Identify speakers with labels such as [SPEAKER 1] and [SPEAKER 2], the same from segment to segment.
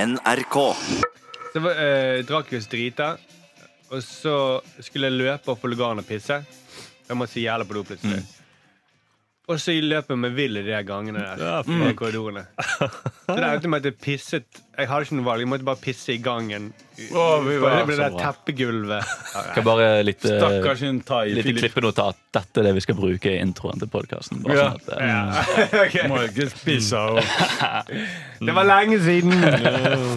[SPEAKER 1] NRK.
[SPEAKER 2] Så var, eh, Dracus drita, og så skulle jeg løpe opp på lugaren og pisse. Jeg måtte så jævla på do plutselig.
[SPEAKER 3] Mm.
[SPEAKER 2] Og så løp jeg meg vill i de her gangene der.
[SPEAKER 4] Ja,
[SPEAKER 2] i de korridorene. Så det endte med at jeg pisset. Jeg hadde ikke noe valg, jeg måtte bare pisse i gangen.
[SPEAKER 3] Å, vi var
[SPEAKER 2] På det
[SPEAKER 3] så
[SPEAKER 2] der
[SPEAKER 3] bra.
[SPEAKER 2] teppegulvet.
[SPEAKER 4] Skal bare litt, eh,
[SPEAKER 3] Stakkars en thai
[SPEAKER 4] litt
[SPEAKER 3] Philip.
[SPEAKER 4] klippenotat. Dette er det vi skal bruke i introen til podkasten.
[SPEAKER 3] Ja.
[SPEAKER 4] Sånn at, eh,
[SPEAKER 3] Må ikke spise av
[SPEAKER 2] Det var lenge siden!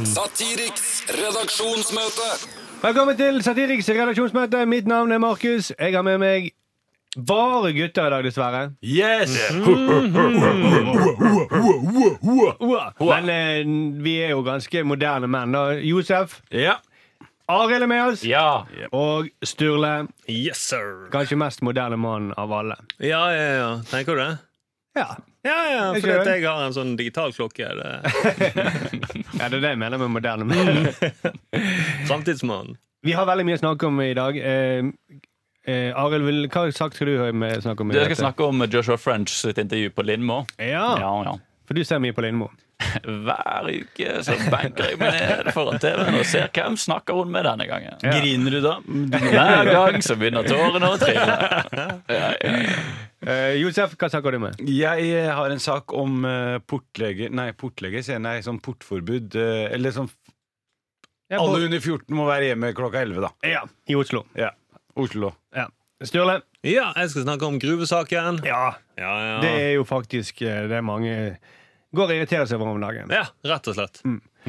[SPEAKER 5] Satiriks redaksjonsmøte.
[SPEAKER 2] Velkommen til Satiriks redaksjonsmøte. Mitt navn er Markus. Jeg har med meg bare gutter i dag, dessverre.
[SPEAKER 3] Yes!
[SPEAKER 2] Men eh, vi er jo ganske moderne menn. da. Josef,
[SPEAKER 3] Ja.
[SPEAKER 2] Arild er med oss.
[SPEAKER 4] ja.
[SPEAKER 2] Og Sturle.
[SPEAKER 6] Yes, sir.
[SPEAKER 2] Kanskje mest moderne mann av alle.
[SPEAKER 6] Ja, ja, ja. Tenker du det?
[SPEAKER 2] Ja,
[SPEAKER 6] Ja, ja,
[SPEAKER 2] Ikke
[SPEAKER 6] fordi at
[SPEAKER 2] det?
[SPEAKER 6] jeg har en sånn digital klokke. Det.
[SPEAKER 2] Det er det jeg mener med moderne mann.
[SPEAKER 6] Samtidsmann.
[SPEAKER 2] Vi har veldig mye å snakke om i dag. Eh, eh, Arild, vil- hva sak skal du høre med, snakke om? i
[SPEAKER 4] Jeg skal
[SPEAKER 2] dette?
[SPEAKER 4] snakke om Joshua French sitt intervju på Lindmo.
[SPEAKER 2] Ja,
[SPEAKER 4] Ja, ja.
[SPEAKER 2] For du ser mye på Lindmo.
[SPEAKER 4] Hver uke så benker jeg meg ned foran TV-en og ser hvem snakker hun med denne gangen.
[SPEAKER 3] Griner du da?
[SPEAKER 4] Hver gang så begynner tårene å trille.
[SPEAKER 2] Eh, Josef, hva snakker du med?
[SPEAKER 3] Jeg eh, har en sak om eh, portleger Nei, portleger, sier jeg. Nei, sånn portforbud. eh, Eller sånn
[SPEAKER 2] Ja,
[SPEAKER 3] Alle under 14 må være hjemme klokka 11, da.
[SPEAKER 2] ja, I Oslo.
[SPEAKER 3] Ja. Oslo.
[SPEAKER 2] Ja. Sturle,
[SPEAKER 6] Ja, jeg skal snakke om gruvesaken.
[SPEAKER 2] ja,
[SPEAKER 6] Ja, ja.
[SPEAKER 2] det er jo faktisk eh, det mange går og irriterer seg over om dagen.
[SPEAKER 6] ja rett og slett.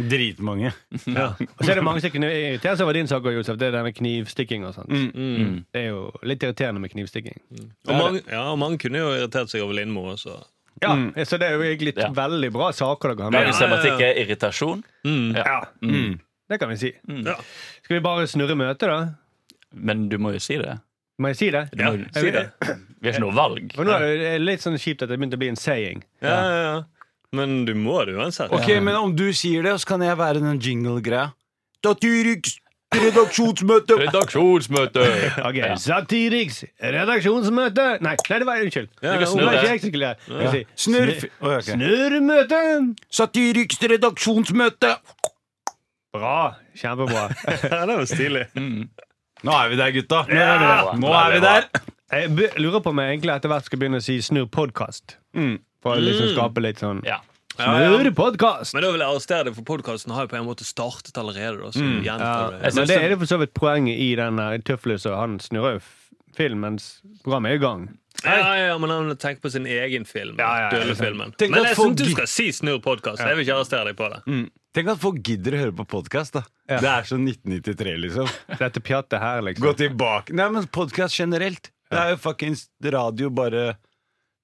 [SPEAKER 3] Dritmange.
[SPEAKER 6] Ja.
[SPEAKER 2] Og så er det mange som kunne irritere seg over din sak, Josef. Det er denne knivstikking og sånt.
[SPEAKER 6] Mm.
[SPEAKER 2] Det er jo litt irriterende med knivstikking.
[SPEAKER 6] Og mange, ja, og mange kunne jo irritert seg over Lindmo også.
[SPEAKER 2] Ja, Mm. Så det er jo egentlig
[SPEAKER 4] Ja.
[SPEAKER 2] veldig bra saker dere har med.
[SPEAKER 4] Dagens tematikk er irritasjon.
[SPEAKER 6] Mm.
[SPEAKER 4] mm,
[SPEAKER 2] Ja.
[SPEAKER 3] Mm.
[SPEAKER 2] Det kan vi si.
[SPEAKER 6] Ja.
[SPEAKER 2] Skal vi bare snurre møtet, da?
[SPEAKER 4] Men du må jo si det.
[SPEAKER 2] Må jeg si det?
[SPEAKER 4] Du må,
[SPEAKER 2] Jeg vil det.
[SPEAKER 4] vi har ikke noe valg.
[SPEAKER 2] For nå er det litt sånn kjipt at det begynte å bli en saying.
[SPEAKER 6] Ja, ja, ja. Men du må det uansett.
[SPEAKER 3] Ok, men om du sier det, så kan jeg være den jingle-greia. Satiriks redaksjonsmøte!
[SPEAKER 4] Redaksjonsmøte!
[SPEAKER 2] Ok,
[SPEAKER 4] Ja.
[SPEAKER 2] Satiriks redaksjonsmøte Nei, nei, det var unnskyld.
[SPEAKER 6] Ja,
[SPEAKER 2] det
[SPEAKER 6] ja,
[SPEAKER 2] var
[SPEAKER 6] Ole.
[SPEAKER 2] ikke jeg som skulle jeg vil si,
[SPEAKER 3] Snurf! Oi, ok.
[SPEAKER 2] Snurremøte!
[SPEAKER 3] Satiriks redaksjonsmøte!
[SPEAKER 2] Bra. Kjempebra.
[SPEAKER 6] Ja, det var stilig.
[SPEAKER 3] Nå er vi der, gutta. Nå
[SPEAKER 2] er vi der.
[SPEAKER 3] Nå er vi der.
[SPEAKER 2] Jeg be- lurer på om jeg egentlig etter hvert skal begynne å si snurr podkast. For å liksom skape litt sånn
[SPEAKER 4] Ja.
[SPEAKER 2] Snurr podkast!
[SPEAKER 6] Men da vil jeg arrestere deg, for podkasten har jo på en måte startet allerede. Da, så vi gjentar det.
[SPEAKER 4] Jeg
[SPEAKER 2] Men
[SPEAKER 4] synes
[SPEAKER 2] det er det for så vidt poenget i den der Tøflus og han snurrer jo f- film mens programmet er i gang.
[SPEAKER 6] Ja, ja, men han tenker på sin egen film.
[SPEAKER 2] ja, ja,
[SPEAKER 6] Dølefilmen.
[SPEAKER 3] liksom. Tenk
[SPEAKER 6] Men
[SPEAKER 3] at
[SPEAKER 6] jeg
[SPEAKER 3] folk- Mm.
[SPEAKER 6] syns du skal si Snurr podkast. Jeg vil ikke arrestere deg på det.
[SPEAKER 3] Tenk at folk gidder å høre på podkast. Det er så 1993, liksom.
[SPEAKER 2] Dette pjattet her,
[SPEAKER 3] Gå
[SPEAKER 2] liksom.
[SPEAKER 3] tilbake. Nei, men podkast generelt. Det er jo fuckings radio bare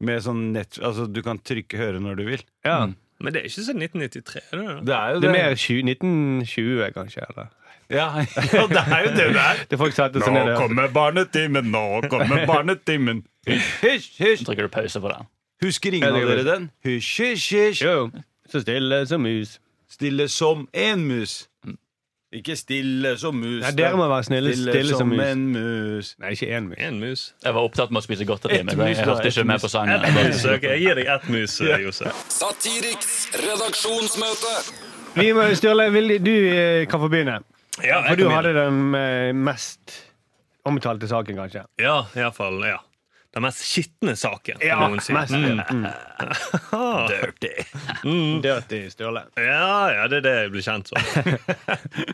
[SPEAKER 3] med sånn nett... Altså, du kan trykke 'høre' når du vil.
[SPEAKER 2] Ja.
[SPEAKER 6] Men det er ikke sånn 1993. Er det det?
[SPEAKER 3] Det er jo
[SPEAKER 2] Det
[SPEAKER 3] det.
[SPEAKER 2] er mer 20, 1920, kanskje. eller?
[SPEAKER 3] Ja, ja, det er jo det det er.
[SPEAKER 2] Det folk satte seg
[SPEAKER 3] Nå
[SPEAKER 2] ned og
[SPEAKER 3] kommer barnetimen, nå kommer barnetimen. Hysj, hysj!
[SPEAKER 4] Trykker du pause på den?
[SPEAKER 3] Husker ingen av dere den? Hysj, hysj, hysj.
[SPEAKER 2] Jo, så stille som mus.
[SPEAKER 3] Stille som en mus. Ikke stille som mus.
[SPEAKER 2] Nei, dere må være snille, stille som mus.
[SPEAKER 3] en mus.
[SPEAKER 2] Nei, ikke én mus.
[SPEAKER 6] En mus.
[SPEAKER 4] Jeg var opptatt med å spise godteri,
[SPEAKER 3] Et
[SPEAKER 4] men jeg
[SPEAKER 3] mus, da,
[SPEAKER 4] hørte
[SPEAKER 3] et
[SPEAKER 4] ikke med på sangen.
[SPEAKER 6] Så, ok, jeg gir deg ett mus, eh, Josef.
[SPEAKER 5] Satiriks redaksjonsmøte.
[SPEAKER 2] Vi må, Sturle, vil, du eh, kan få begynne.
[SPEAKER 6] Ja,
[SPEAKER 2] For du hadde den eh, mest omtalte saken, kanskje.
[SPEAKER 6] ja, i hvert fall, ja. Den mest skitne saken. kan noen si.
[SPEAKER 2] mest
[SPEAKER 6] Mm.
[SPEAKER 3] Mm. Dirty.
[SPEAKER 2] dirty Sturle.
[SPEAKER 6] Ja, ja, det er det jeg blir kjent som.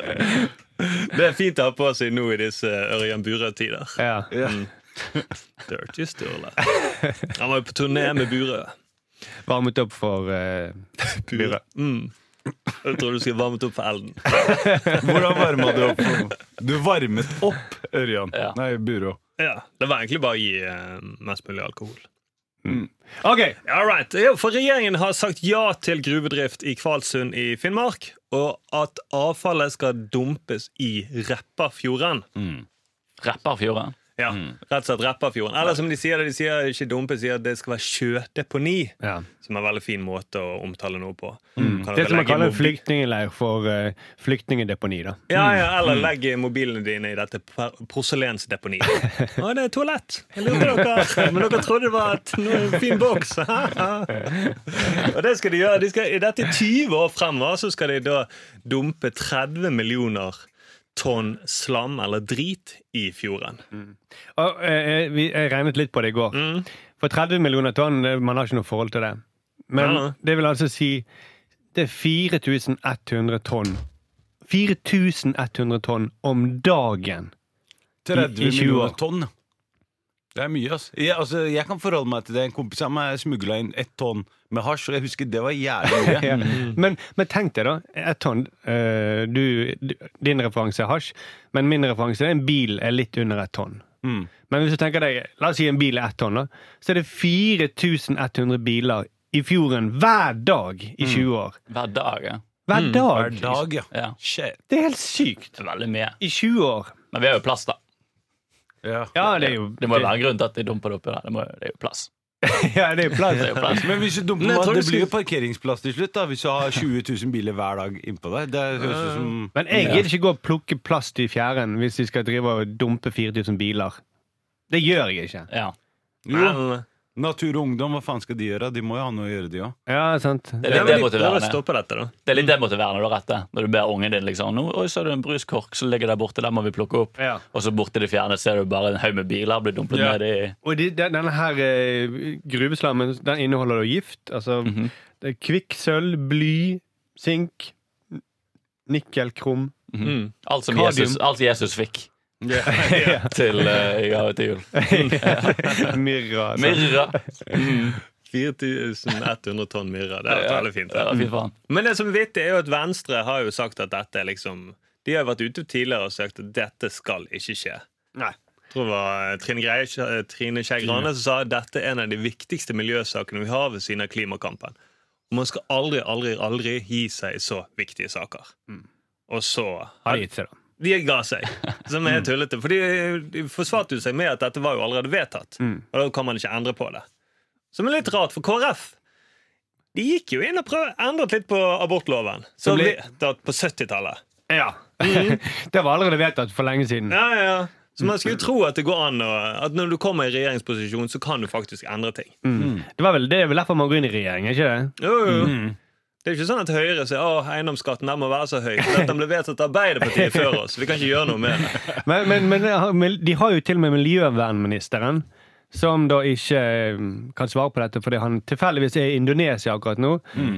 [SPEAKER 6] det er fint å ha på seg nå i disse Ørjan Burøe-tider.
[SPEAKER 2] Ja.
[SPEAKER 6] Dirty Sturle. Han var jo på turné med Burøe.
[SPEAKER 2] Varmet opp for eh, Burøe.
[SPEAKER 6] Mm. Jeg tror du skulle varmet opp for elden.
[SPEAKER 3] Hvordan varma du opp? Du varmet opp Ørjan.
[SPEAKER 4] Ja.
[SPEAKER 3] Nei, Burå.
[SPEAKER 6] Ja, Det var egentlig bare å gi eh, mest mulig alkohol.
[SPEAKER 2] OK!
[SPEAKER 6] All right. Ja, for regjeringen har sagt ja til gruvedrift i Kvalsund i Finnmark, og at
[SPEAKER 2] Mm.
[SPEAKER 6] avfallet skal dumpes i Repparfjorden.
[SPEAKER 4] Rapperfjorden.
[SPEAKER 6] Ja, Rett og slett Repparfjorden. Eller som de sier, det, de sier ikke dumpe, sier at det skal være sjødeponi.
[SPEAKER 2] Ja. Mm.
[SPEAKER 6] Som er en veldig fin måte å omtale noe på. Kan
[SPEAKER 2] Det
[SPEAKER 6] dere
[SPEAKER 2] som man
[SPEAKER 6] legge
[SPEAKER 2] kaller en
[SPEAKER 6] mobi-
[SPEAKER 2] flyktningleir for eh, flyktningdeponi. da.
[SPEAKER 6] Ja, ja, Eller legg mobilene dine i dette per- porselensdeponiet. Å, det er toalett! Jeg lurer på dere, Men dere trodde det var et, noe, en fin boks. Og det skal de gjøre. De skal, I dette 20 år fremover så skal de da dumpe 30 millioner tonn slam eller drit i fjorden.
[SPEAKER 2] Og, eh, vi, jeg regnet litt på det i går.
[SPEAKER 6] Mm.
[SPEAKER 2] For 30 millioner tonn, det- man har ikke noe forhold til det. Men
[SPEAKER 6] Nei, nei.
[SPEAKER 2] det vil altså si det er 4100 tonn. 4100 tonn om dagen.
[SPEAKER 3] 30
[SPEAKER 2] I- i 20 år.
[SPEAKER 3] millioner tonn. Det er mye, ass. Jeg, altså, jeg kan forholde meg til det. En kompis av meg smugla inn ett tonn med hasj, og jeg husker det var jævlig mye.
[SPEAKER 2] Ja.
[SPEAKER 4] Mm.
[SPEAKER 2] Men, men tenk deg, da. Ett tonn. eh, du, du- din referanse er hasj, men min referanse er en bil er litt under ett tonn.
[SPEAKER 3] Mm.
[SPEAKER 2] Men hvis du tenker deg, la oss si en bil er ett tonn, da. Så er det 4100 biler i fjorden hver dag
[SPEAKER 4] Mm.
[SPEAKER 2] i 20 år.
[SPEAKER 4] Hver dag, ja.
[SPEAKER 2] Hver dag!
[SPEAKER 3] Hver dag, ja.
[SPEAKER 4] ja.
[SPEAKER 3] Shit.
[SPEAKER 2] Det er helt sykt.
[SPEAKER 4] Det er veldig mye.
[SPEAKER 2] I 20 år.
[SPEAKER 4] Men vi har jo plass, da.
[SPEAKER 3] Ja.
[SPEAKER 2] Ja, det er jo
[SPEAKER 4] Det må jo være en grunn til at de dumper det oppi der. Det, må, jo- det er jo plass.
[SPEAKER 2] Ja, det er jo plass.
[SPEAKER 4] Det er jo plass.
[SPEAKER 3] Men hvis du dumper
[SPEAKER 6] Men jeg
[SPEAKER 3] meg,
[SPEAKER 6] tror
[SPEAKER 3] det
[SPEAKER 6] du
[SPEAKER 3] blir jo parkeringsplass til slutt, da, hvis du har 20 000 biler hver dag innpå deg. Det høres ut som
[SPEAKER 2] Men jeg gidder ikke gå og plukke plast i fjæren hvis de skal drive og dumpe 4000 biler. Det gjør jeg ikke.
[SPEAKER 4] Ja.
[SPEAKER 3] Jo,
[SPEAKER 6] Men
[SPEAKER 3] Natur og Ungdom, hva faen skal de gjøre? De må jo ha noe å gjøre, de òg.
[SPEAKER 2] Ja, sant.
[SPEAKER 4] Det
[SPEAKER 6] det
[SPEAKER 4] er
[SPEAKER 6] er
[SPEAKER 4] litt
[SPEAKER 6] vel de prøver å
[SPEAKER 4] demotiverende.
[SPEAKER 6] stoppe dette, da.
[SPEAKER 4] Det er litt demotiverende du har rett det. Når du ber ungen din liksom nå, Oi, så er det en bruskork som ligger der borte, den må vi plukke opp.
[SPEAKER 2] Ja.
[SPEAKER 4] Og så borti det fjerne ser du bare en haug med biler blir dumpet
[SPEAKER 3] Ja.
[SPEAKER 4] ned i
[SPEAKER 2] Og de, den- denne her eh, gruveslammen den inneholder da gift. Altså det er kvikksølv, bly, sink, nikkel, krom.
[SPEAKER 6] Mm.
[SPEAKER 4] alt som
[SPEAKER 2] Kadium.
[SPEAKER 4] Jesus, alt Jesus fikk til eh, i gave til jul.
[SPEAKER 2] Myrra. altså.
[SPEAKER 4] Myrra.
[SPEAKER 6] 4100 tonn myrra. Det er veldig fint.
[SPEAKER 4] Ja, fy faen.
[SPEAKER 6] Men det som er vittig, er jo at Venstre har jo sagt at dette er liksom De har jo vært ute tidligere og sagt at dette skal ikke skje.
[SPEAKER 2] Nei.
[SPEAKER 6] Jeg tror det var eh, Trine, Greie, Trine Skei Grane som sa at dette er en av de viktigste miljøsakene vi har ved siden av klimakampen. Og man skal aldri, aldri, aldri gi seg i så viktige saker. Og så
[SPEAKER 2] Mm. Har de gitt seg, da.
[SPEAKER 6] de ga seg, som
[SPEAKER 2] Mm.
[SPEAKER 6] er tullete. For de, de forsvarte jo seg med at dette var jo allerede vedtatt.
[SPEAKER 2] Mm.
[SPEAKER 6] Og da kan man ikke endre på det. Som er litt rart, for KrF De gikk jo inn og prøv, endret litt på abortloven. Som
[SPEAKER 2] ble-
[SPEAKER 6] vedtatt på 70-tallet.
[SPEAKER 2] Ja. det var allerede vedtatt for lenge siden.
[SPEAKER 6] Ja, ja, ja. Så man skulle tro at det går an å, at når du kommer i regjeringsposisjon, så kan du faktisk endre ting.
[SPEAKER 2] Det, var vel, det er vel derfor man går inn i regjering, er ikke det?
[SPEAKER 6] Jo, jo, jo.
[SPEAKER 2] Mm.
[SPEAKER 6] Det er ikke sånn at Høyre sier at eiendomsskatten den må være så høy. Dette ble vedtatt av Arbeiderpartiet før oss. Vi kan ikke gjøre noe med det.
[SPEAKER 2] Men, men, men det har- men de har jo til og med miljøvernministeren, som da ikke eh, kan svare på dette fordi han tilfeldigvis er i Indonesia akkurat nå.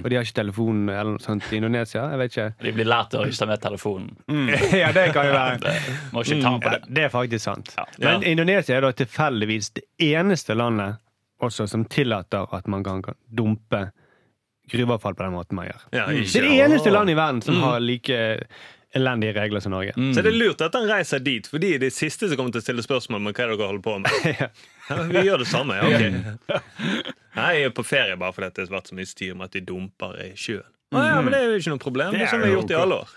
[SPEAKER 2] Og de har ikke telefon eller noe sånt i Indonesia. Jeg vet ikke.
[SPEAKER 4] De blir lært til å ikke ta med telefonen.
[SPEAKER 2] ja, det kan jo være.
[SPEAKER 4] Må ikke ta på
[SPEAKER 2] Ja,
[SPEAKER 4] det.
[SPEAKER 2] det er faktisk sant.
[SPEAKER 6] Ja.
[SPEAKER 2] Men Indonesia er da tilfeldigvis det eneste landet også som tillater at man kan kan dumpe gruveavfall på den måten man gjør.
[SPEAKER 6] Ja,
[SPEAKER 2] Det
[SPEAKER 6] ikke.
[SPEAKER 2] er det eneste landet i verden som har like elendige regler som Norge.
[SPEAKER 6] Så det er lurt at han reiser dit, for de er de siste som kommer til å stille spørsmål om hva dere holder på med. Ja, vi gjør det samme, ja, ok. Nei, jeg er på ferie bare fordi det har vært så mye styr med at de dumper i sjøen. Å ja, men det er jo ikke noe problem. Mm. Det er som vi har gjort i alle år.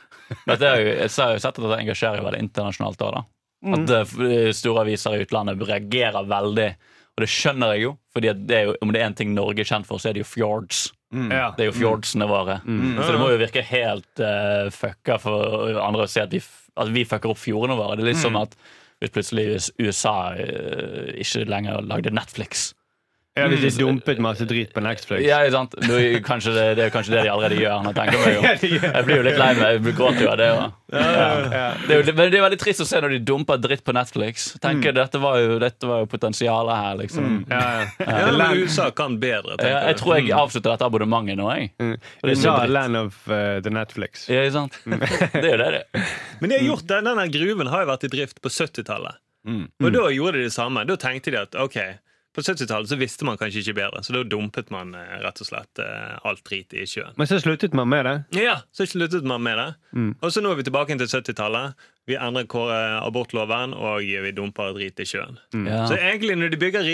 [SPEAKER 4] Dette er jo, jeg har jo sett at det engasjerer veldig internasjonalt òg, da. At eh, store aviser i utlandet reagerer veldig. Og det skjønner jeg jo, Fordi at det er jo, om det er en ting Norge er kjent for, så er det jo fjords.
[SPEAKER 2] Ja.
[SPEAKER 4] Det er jo fjordsene våre. Så det må jo virke helt eh, fucka for andre å se at vi, f- at vi fucker opp fjordene våre. Det er litt som at hvis plutselig US- USA eh, ikke lenger lagde Netflix.
[SPEAKER 2] Ja, hvis de dumpet masse drit på Netflix.
[SPEAKER 4] Ja, ikke sant? Nå, er jo kanskje det, det er jo kanskje det de allerede gjør. Nå tenker jeg,
[SPEAKER 2] Ja,
[SPEAKER 4] meg
[SPEAKER 2] de
[SPEAKER 4] jo.
[SPEAKER 2] gjør.
[SPEAKER 4] jeg blir jo litt lei meg. Jeg blir- gråter jo av det. også.
[SPEAKER 6] Eh,
[SPEAKER 2] ja.
[SPEAKER 4] Det er, jo, men det er veldig trist å se når de dumper dritt på Netflix. Tenker, dette, var jo, dette var jo potensialet her, liksom.
[SPEAKER 2] Ja, ja.
[SPEAKER 6] Ja, men USA kan bedre,
[SPEAKER 4] Jeg, jeg
[SPEAKER 6] tenker jeg.
[SPEAKER 4] tror jeg avslutter dette abonnementet nå, jeg.
[SPEAKER 2] Det
[SPEAKER 4] så
[SPEAKER 2] sa
[SPEAKER 4] dritt.
[SPEAKER 2] Land of eh, the Netflix.
[SPEAKER 4] Ja, ikke sant? Det er jo det, det.
[SPEAKER 6] Men de har gjort det. denne gruven har jo vært i drift på 70-tallet. Og da gjorde de det samme. Da tenkte de at ok, på 70-tallet så visste man kanskje ikke bedre, så da dumpet man eh, rett og slett eh, alt drit i sjøen.
[SPEAKER 2] Men så sluttet man med det.
[SPEAKER 6] Ja, så sluttet man med det. Og så nå er vi tilbake inn til 70-tallet. Vi endrer kåre- eh, abortloven, og vi dumper drit i sjøen.
[SPEAKER 4] Ja.
[SPEAKER 6] Så egentlig når de bygger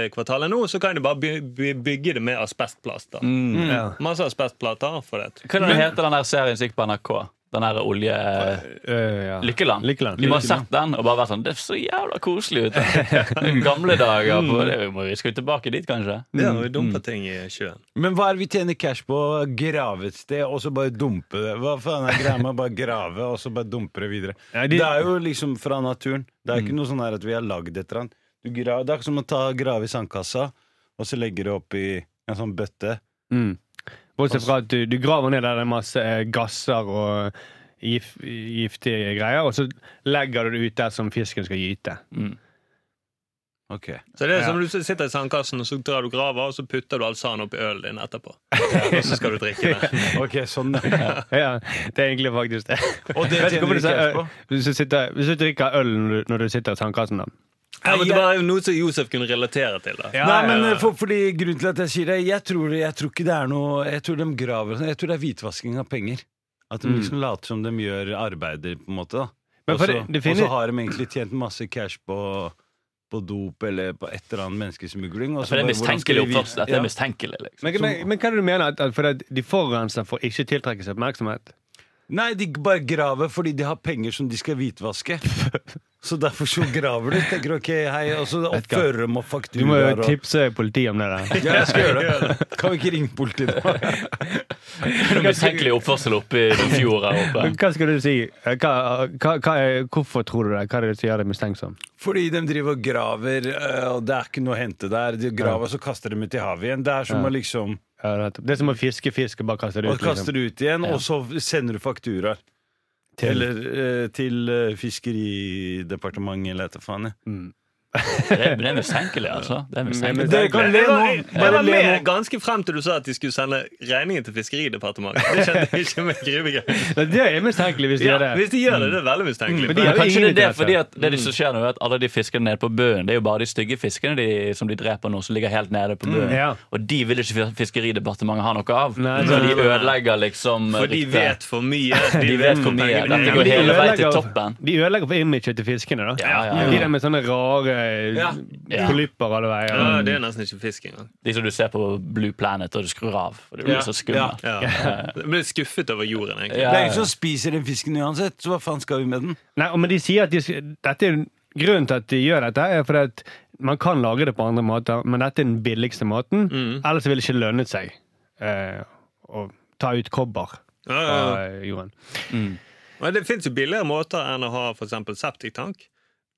[SPEAKER 6] regjeringskvartalet nå, så kan de bare by by bygge det med asbestplaster.
[SPEAKER 2] Ja.
[SPEAKER 6] Masse asbestplater for det.
[SPEAKER 4] Hva er det heter den der serien som gikk på NRK? Den der olje...
[SPEAKER 2] Øh, ja.
[SPEAKER 4] Lykkeland.
[SPEAKER 2] Lykkeland.
[SPEAKER 4] Vi må ha sett den og bare vært sånn Det er så jævla koselig ut. Gamle dager. På, det, vi må- vi skal jo tilbake dit, kanskje.
[SPEAKER 6] Det er jo dumpa ting i sjøen.
[SPEAKER 3] Men hva er det vi tjener cash på? Grave et sted, og så bare dumpe det? Hva faen er greia med å bare grave, og så bare dumpe det videre?
[SPEAKER 2] Nei, de-
[SPEAKER 3] Det er jo liksom fra naturen. Det er jo ikke noe sånn her at vi har lagd et eller annet. Du gra- Det er ikke som å ta grave i sandkassa, og så legge det opp i en sånn bøtte.
[SPEAKER 2] Mm. Bortsett fra at du, du graver ned der det er masse eh, gasser og eh, gif, giftige greier, og så legger du det ut der som fisken skal gyte.
[SPEAKER 3] Ok
[SPEAKER 6] Så det er som du sitter i sandkassen, og så drar du grava, og så putter du all sanden opp i ølen din etterpå. Og så skal du drikke det.
[SPEAKER 3] Ok, sånn ja.
[SPEAKER 2] Ja, det er egentlig faktisk det.
[SPEAKER 3] Og det
[SPEAKER 2] Vet du
[SPEAKER 3] tjener
[SPEAKER 2] hvorfor
[SPEAKER 3] vi
[SPEAKER 2] du sier,
[SPEAKER 3] cash på?
[SPEAKER 2] eh, Hvis du, sitter, hvis du drikker øl når du, når du sitter i sandkassen, da.
[SPEAKER 6] Ja, men det var jo noe som Josef kunne relatere til. da.
[SPEAKER 3] Nei, men eh, for, fordi Grunnen til at jeg sier det, jeg tror, jeg tror ikke det er noe Jeg tror de graver og sånn. Jeg tror det er hvitvasking av penger. At de liksom later som de gjør arbeider, på en måte. da
[SPEAKER 2] Mm. Men
[SPEAKER 3] Og
[SPEAKER 2] for
[SPEAKER 3] så
[SPEAKER 2] det- det
[SPEAKER 3] og
[SPEAKER 2] finnes-
[SPEAKER 3] så har de egentlig tjent masse cash på på dop eller på et eller annet menneskesmugling. og så
[SPEAKER 4] For det er
[SPEAKER 3] bare, hvordan skal
[SPEAKER 4] mistenkelig
[SPEAKER 3] vi vite-
[SPEAKER 4] oppførsel. Dette
[SPEAKER 3] Ja.
[SPEAKER 4] er mistenkelig, liksom.
[SPEAKER 2] Men, men, men hva er det du mener? At, at fordi at de forurenser for ikke å tiltrekke seg oppmerksomhet?
[SPEAKER 3] Nei, de bare graver fordi de har penger som de skal hvitvaske. Så derfor så graver de. Tenker ok, hei, Og så oppfører de og
[SPEAKER 2] Du må
[SPEAKER 3] fakturaer
[SPEAKER 2] jo
[SPEAKER 3] og
[SPEAKER 2] tipse politiet om det der.
[SPEAKER 3] Ja, jeg skal gjøre det. Kan vi ikke ringe politiet? nå?
[SPEAKER 4] Det er noe mistenkelig oppførsel oppe i noen fjord her oppe.
[SPEAKER 2] Hva skal du si? Eh, Hva, hva, hva er, hvorfor tror du det? Hva er det som gjør deg mistenksom?
[SPEAKER 3] Fordi de driver og graver, øh, og det er ikke noe å hente der. De graver, og så kaster de ut i havet igjen. Det er som å liksom
[SPEAKER 2] Ja, det er- det er som å fiske fisk og bare kaste det
[SPEAKER 3] Og
[SPEAKER 2] ut. liksom.
[SPEAKER 3] kaster det ut igjen, og så sender du fakturaer.
[SPEAKER 2] Til-
[SPEAKER 3] Eller øh, til øh, Fiskeridepartementet, eller hva faen. jeg.
[SPEAKER 4] Det er, det er mistenkelig, altså. Det er mistenkelig.
[SPEAKER 3] Dere kan le
[SPEAKER 6] Jeg
[SPEAKER 3] nå!
[SPEAKER 6] var, jeg, jeg
[SPEAKER 3] Bare
[SPEAKER 6] var
[SPEAKER 3] le
[SPEAKER 6] med
[SPEAKER 3] nå.
[SPEAKER 6] ganske frem til du sa at de skulle sende regningen til Fiskeridepartementet. Det kjente jeg ikke med gruvegreier.
[SPEAKER 2] Nei, Det er mistenkelig hvis de
[SPEAKER 6] Ja,
[SPEAKER 2] gjør det.
[SPEAKER 6] hvis de gjør det, det er veldig mistenkelig.
[SPEAKER 2] Men de-
[SPEAKER 4] Ja,
[SPEAKER 2] har jo
[SPEAKER 4] kanskje det
[SPEAKER 2] ingen
[SPEAKER 4] er det,
[SPEAKER 2] interesse.
[SPEAKER 4] fordi at det som skjer nå er at alle de fiskene nede på bøen, det er jo bare de stygge fiskene de, som de dreper nå, som ligger helt nede på bøen.
[SPEAKER 2] ja.
[SPEAKER 4] Og de vil ikke Fiskeridepartementet ha noe av.
[SPEAKER 2] Nei,
[SPEAKER 4] så
[SPEAKER 2] nei,
[SPEAKER 4] de ødelegger liksom
[SPEAKER 6] For de
[SPEAKER 4] ryktet.
[SPEAKER 6] vet for mye.
[SPEAKER 4] De vet for mye. Dette
[SPEAKER 2] Men
[SPEAKER 4] går
[SPEAKER 2] de
[SPEAKER 4] hele veien
[SPEAKER 2] ødelegger-
[SPEAKER 4] til toppen.
[SPEAKER 2] De ødelegger for imaget til fiskene, da.
[SPEAKER 4] Ja, ja, ja.
[SPEAKER 2] De der med sånne rare
[SPEAKER 3] Ja.
[SPEAKER 4] Ja.
[SPEAKER 2] polypper alle veier.
[SPEAKER 6] Ja, det er nesten ikke fisk engang.
[SPEAKER 4] De som du ser på Blue Planet, og du skrur av. For det blir
[SPEAKER 3] Ja,
[SPEAKER 4] så skummelt.
[SPEAKER 6] Ja. Jeg ble skuffet over jorden, egentlig.
[SPEAKER 3] Det
[SPEAKER 4] Ja,
[SPEAKER 3] er ingen som spiser den fisken uansett, så hva faen skal vi med den?
[SPEAKER 2] Nei, og men de sier at de, dette er Grunnen til at de gjør dette, er fordi at man kan lage det på andre måter, men dette er den billigste måten. Ellers ville det ikke lønnet seg eh, å ta ut kobber
[SPEAKER 6] Ja,
[SPEAKER 2] fra
[SPEAKER 6] ja, ja.
[SPEAKER 2] jorden.
[SPEAKER 6] Men det fins jo billigere måter enn å ha for eksempel septiktank.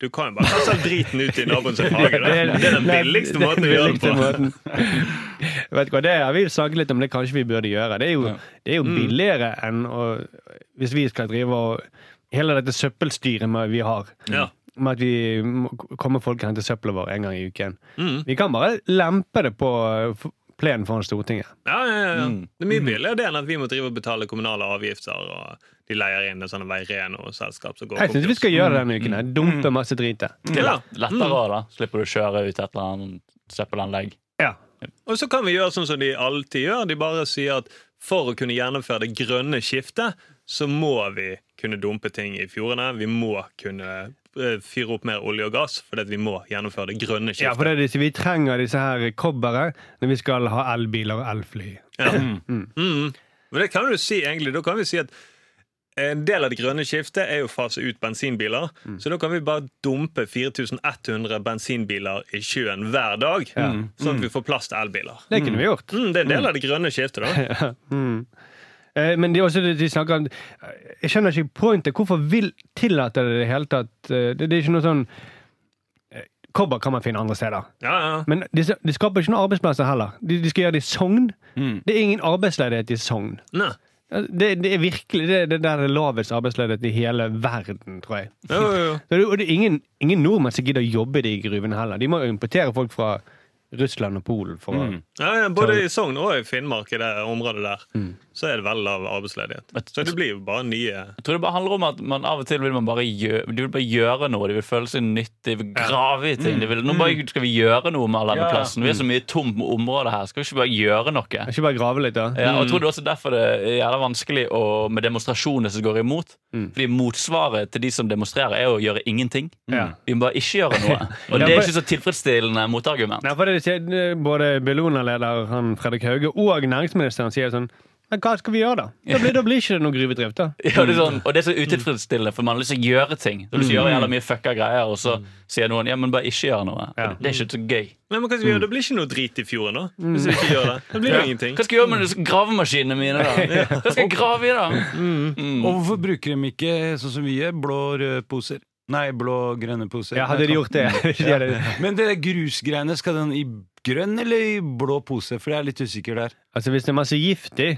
[SPEAKER 6] Du kan jo bare kaste all driten ut i naboen sin hage. da. Det er den
[SPEAKER 2] Nei,
[SPEAKER 6] billigste måten å gjøre det
[SPEAKER 2] billigste
[SPEAKER 6] på.
[SPEAKER 2] måten. Vet du hva, Det har vi snakket litt om, det kanskje vi burde gjøre. Det er jo, det er
[SPEAKER 6] Mm.
[SPEAKER 2] jo billigere enn å Hvis vi skal drive og Hele dette søppelstyret med- vi har,
[SPEAKER 6] Ja.
[SPEAKER 2] med at vi må- kommer folk og henter søppelet vår en gang i uken
[SPEAKER 6] Mm.
[SPEAKER 2] Vi kan bare lempe det på eh, f- plenen foran Stortinget.
[SPEAKER 6] Ja, ja, ja, ja.
[SPEAKER 2] Mm.
[SPEAKER 6] Det er mye billigere det enn at vi må drive og betale kommunale avgifter, og de leier inn sånn sånne Veireno-selskap som går
[SPEAKER 2] Jeg syns vi skal gjøre det denne uken. her.
[SPEAKER 6] Mm.
[SPEAKER 2] Dumpe masse drit der.
[SPEAKER 4] Det er
[SPEAKER 6] Ja.
[SPEAKER 4] lett, lettere òg, da. Slipper du å kjøre ut et eller annet søppelanlegg.
[SPEAKER 2] Ja.
[SPEAKER 6] Og så kan vi gjøre sånn som de alltid gjør. De bare sier at for å kunne gjennomføre det grønne skiftet, så må vi kunne dumpe ting i fjordene. Vi må kunne eh, fyre opp mer olje og gass, fordi at vi må gjennomføre det grønne
[SPEAKER 2] ja, for
[SPEAKER 6] skiftet.
[SPEAKER 2] det er disse, vi trenger disse her kobberet når vi skal ha elbiler og elfly.
[SPEAKER 6] Mm. Men det kan du si egentlig, da kan vi si at en del av det grønne skiftet er jo å fase ut bensinbiler. Så da kan vi bare dumpe 4100 bensinbiler i sjøen hver dag, sånn at vi får plass til elbiler.
[SPEAKER 2] Det kunne vi gjort.
[SPEAKER 6] Mm, det er en del av det grønne skiftet, da.
[SPEAKER 2] Eh, Men det er også det de snakker om Eh, Jeg skjønner ikke pointet. Hvorfor vil tillate det i det hele tatt? Eh, Det, det er ikke noe sånn eh, Kobber kan man finne andre steder.
[SPEAKER 6] Ja, ja.
[SPEAKER 2] Men de, de skaper ikke noen arbeidsplasser heller. De, de skal gjøre det i Sogn. Det er ingen arbeidsledighet i Sogn. Eh,
[SPEAKER 6] Nei.
[SPEAKER 2] Det, det er virkelig det, det der er lavest arbeidsledighet i hele verden, tror jeg.
[SPEAKER 6] Jo, jo, jo.
[SPEAKER 2] Så det, og det er ingen, ingen nordmenn som gidder å jobbe i de gruvene heller. De må jo importere folk fra Russland og Polen. For, å-
[SPEAKER 6] Ja, ja, både i Sogn og i Finnmark, i det området der, så er det veldig lav arbeidsledighet. Så det blir jo bare nye
[SPEAKER 4] Jeg tror det bare handler om at man av og til vil man bare gjøre, de vil bare gjøre noe. De vil føle seg nyttig, de vil grave i ting. De vil, nå bare skal vi gjøre noe med all denne
[SPEAKER 3] Ja.
[SPEAKER 4] plassen. Vi er så mye tomt område her. Skal vi ikke bare gjøre noe?
[SPEAKER 2] Kan Ikke bare grave litt, da.
[SPEAKER 4] Ja, og jeg tror det er også derfor det er jævla vanskelig å, med demonstrasjoner som går imot. Fordi motsvaret til de som demonstrerer, er å gjøre ingenting.
[SPEAKER 2] Ja.
[SPEAKER 4] Vi må bare ikke gjøre noe. Og det er ikke så tilfredsstillende motargument.
[SPEAKER 2] Nei, for det sier Både Bellona-leder han Fredrik Hauge og næringsministeren sier sånn Men hva skal vi gjøre, da? Da blir, da blir ikke det noe gruvedrift, da.
[SPEAKER 4] Ja, det er sånn, og det er så utilfredsstillende, for man har lyst til å gjøre ting. Du har lyst til å gjøre jævla mye fucka greier, og så sier noen ja, men bare ikke gjør noe.
[SPEAKER 2] Ja.
[SPEAKER 4] Det er ikke så gøy.
[SPEAKER 6] Men hva skal vi gjøre? Det blir ikke noe drit i fjorden, da. Hvis vi ikke gjør det. Da blir det ingenting.
[SPEAKER 4] Hva skal jeg gjøre med disse gravemaskinene mine, da? Hva skal jeg grave i, da? Mm.
[SPEAKER 2] Mm.
[SPEAKER 3] Og hvorfor bruker de ikke, sånn som vi gjør, blå røde poser? Nei, blå-grønne poser.
[SPEAKER 2] Ja, hadde de gjort det? De hadde,
[SPEAKER 3] Men det der grusgreiene, skal den i grønn eller i blå pose? For jeg er litt usikker der.
[SPEAKER 2] altså, hvis det er masse gift i,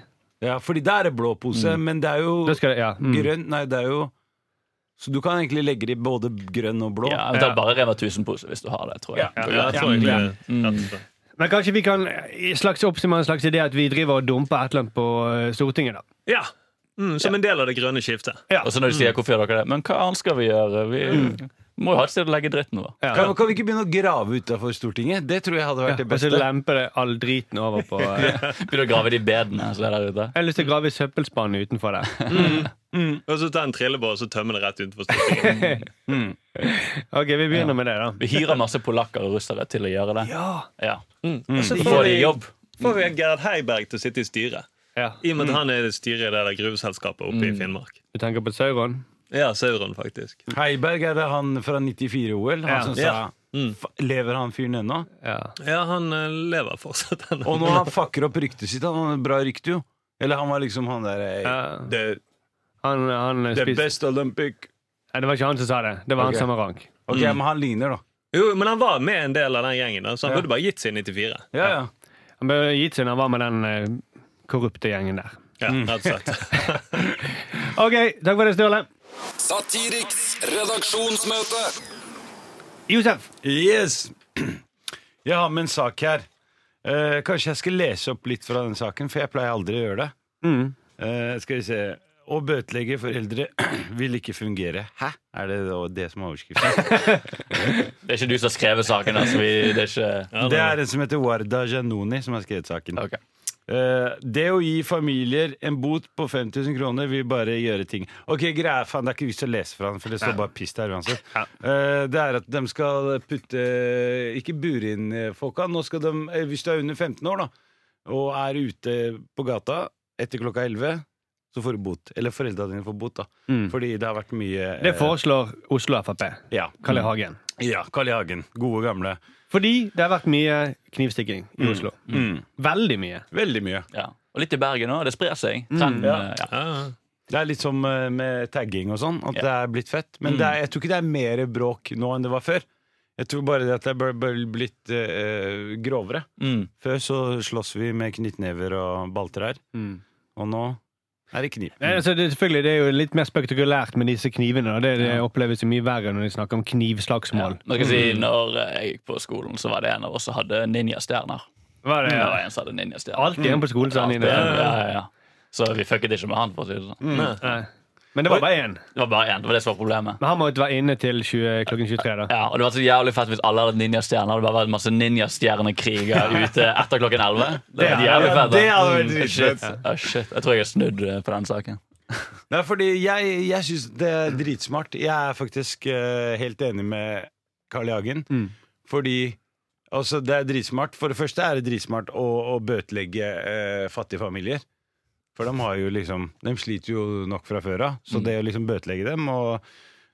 [SPEAKER 3] Ja, fordi der er blå pose, men det er jo
[SPEAKER 2] Mm. da skal det Ja. Mm.
[SPEAKER 3] grønn Nei, det er jo Så du kan egentlig legge det i både grønn og blå.
[SPEAKER 4] Ja, eventuelt bare Rema 1000-pose, hvis du har det, tror jeg.
[SPEAKER 6] Ja, jeg tror egentlig det. Mm. Rett og slett.
[SPEAKER 2] Men kanskje vi kan i slags oppsummere en slags idé at vi driver og dumper et eller annet på eh, Stortinget, da.
[SPEAKER 6] Ja. Mm, som en del av det grønne skiftet.
[SPEAKER 2] Ja.
[SPEAKER 4] Og så når de sier 'hvorfor gjør dere det', men hva annet skal vi gjøre? Vi må jo ha et sted å legge dritten vår.
[SPEAKER 2] Ja.
[SPEAKER 3] Kan, kan vi ikke begynne å grave utafor Stortinget? Det tror jeg hadde vært det
[SPEAKER 2] Og så
[SPEAKER 3] beste.
[SPEAKER 2] lemper det all driten over på eh,
[SPEAKER 4] Begynne å grave de bedene som er der ute.
[SPEAKER 2] Jeg har lyst til å grave i søppelspannet utenfor der.
[SPEAKER 6] Og så ta en trillebår og så tømme det rett utenfor Stortinget.
[SPEAKER 2] Mm. Ok, vi begynner med det, da.
[SPEAKER 4] Vi hyrer masse polakker og russere til å gjøre det. Ja.
[SPEAKER 6] Og så
[SPEAKER 4] Får
[SPEAKER 6] får
[SPEAKER 4] de
[SPEAKER 6] vi,
[SPEAKER 4] jobb.
[SPEAKER 6] får vi Gerhard Heiberg til å sitte i styret. Mm.
[SPEAKER 2] Ja.
[SPEAKER 6] I og med at han er styret i det der gruveselskapet oppe i Finnmark.
[SPEAKER 2] Du tenker på Sauron?
[SPEAKER 6] Ja, Sauron, faktisk.
[SPEAKER 3] Heiberg er det han fra 94-OL. Han
[SPEAKER 2] Ja. Mm.
[SPEAKER 3] som sa
[SPEAKER 6] Ja.
[SPEAKER 3] "Fa- Lever han fyren ennå?
[SPEAKER 2] Ja.
[SPEAKER 6] Ja, han eh, lever fortsatt ennå.
[SPEAKER 3] Og når han fucker opp ryktet sitt Han har et bra rykte, jo. Eller han var liksom han der eh,
[SPEAKER 2] Ja.
[SPEAKER 3] the,
[SPEAKER 2] Han, han
[SPEAKER 3] the
[SPEAKER 2] spiste
[SPEAKER 3] best Olympic.
[SPEAKER 2] Nei, Det var ikke han som sa det. Det var
[SPEAKER 3] Ok.
[SPEAKER 2] han samme rank.
[SPEAKER 3] Ok, men han ligner, da.
[SPEAKER 6] Jo, men han var med en del av den gjengen, da, så han burde bare gitt seg i 94.
[SPEAKER 3] Ja, ja.
[SPEAKER 2] Han ble gitt seg når han var med den eh, korrupte gjengen der.
[SPEAKER 6] Ja, rett og slett.
[SPEAKER 2] Ok, takk for det, Sturle.
[SPEAKER 5] Satiriks redaksjonsmøte.
[SPEAKER 2] Josef.
[SPEAKER 3] Yes! Jeg har med en sak her. Eh, kanskje jeg skal lese opp litt fra den saken, for jeg pleier aldri å gjøre det. Eh, skal vi se Å bøtelegge foreldre vil ikke fungere. Hæ? Er det da det som er overskriften?
[SPEAKER 4] Det er ikke du som har skrevet saken. Altså. Vi, det er ikke
[SPEAKER 3] det er en som heter Warda Janoni, som har skrevet saken.
[SPEAKER 4] Ok.
[SPEAKER 3] Eh, det å gi familier en bot på 5000 kroner vil bare gjøre ting Ok, greia, faen, Det er ikke vits å lese fra den, for det står bare piss der uansett. Eh, det er at de skal putte Ikke bure inn eh, folka. Nå skal de, eh, hvis du er under 15 år da og er ute på gata etter klokka 11, så får du bot. Eller foreldra dine får bot, da. Fordi det har vært mye eh,
[SPEAKER 2] Mm. Det foreslår Oslo Frp.
[SPEAKER 3] ja, Mm.
[SPEAKER 2] Karl I. Hagen.
[SPEAKER 3] ja, Carl I. Hagen. Gode, gamle.
[SPEAKER 2] Fordi det har vært mye knivstikking i Oslo. Veldig mye.
[SPEAKER 3] Mm. Veldig mye.
[SPEAKER 4] Ja. Og litt i Bergen òg. Det sprer seg. Trenden,
[SPEAKER 3] Ja.
[SPEAKER 4] eh, ja.
[SPEAKER 6] Ja.
[SPEAKER 3] Det er litt som eh, med tagging og sånn, at det er blitt fett.
[SPEAKER 2] Mm.
[SPEAKER 3] Men det er, jeg tror ikke det er mer bråk nå enn det var før. Jeg tror bare det at det er bl- bl- blitt eh, grovere.
[SPEAKER 4] Mm.
[SPEAKER 3] Før så slåss vi med knyttnever og balltrær, og nå er det kniv.
[SPEAKER 2] Nei, Altså, det, er selvfølgelig, det er jo litt mer spektakulært med disse knivene. og Det, det oppleves jo mye verre når de snakker om knivslagsmål. Mm.
[SPEAKER 4] Nå skal jeg si, når eh, jeg gikk på skolen, så var det en av oss som hadde ninjastjerner.
[SPEAKER 2] Var det,
[SPEAKER 4] Det
[SPEAKER 2] ja.
[SPEAKER 4] var en som hadde ninjastjerner.
[SPEAKER 2] Alltid en på skolen, sa han
[SPEAKER 4] Ja,
[SPEAKER 2] inne.
[SPEAKER 4] ja, ja. Så vi fucket ikke med han. for å si Det
[SPEAKER 2] Mm.
[SPEAKER 4] sånn.
[SPEAKER 2] Nei. Eh, Men det var bare én.
[SPEAKER 4] Det var bare en, det var det som var problemet.
[SPEAKER 2] Men han måtte være inne til 20, klokken 23. da.
[SPEAKER 4] Ja, og Det var så jævlig fett hvis alle hadde hatt ninjastjerner. Det hadde bare vært masse ninjastjernekriger ute etter klokken 11. Det hadde vært
[SPEAKER 2] Ja,
[SPEAKER 4] jævlig fett. da.
[SPEAKER 3] det hadde vært
[SPEAKER 4] Mm,
[SPEAKER 3] dritfett.
[SPEAKER 4] shit. Ah, shit. Jeg tror jeg har snudd eh, på den saken.
[SPEAKER 3] Nei, fordi jeg, jeg syns det er dritsmart. Jeg er faktisk eh, helt enig med Carl I. Hagen. Fordi altså, det er dritsmart. For det første er det dritsmart å, å bøtelegge eh, fattige familier. For de, har jo liksom, de sliter jo nok fra før av. Så det å liksom bøtelegge dem og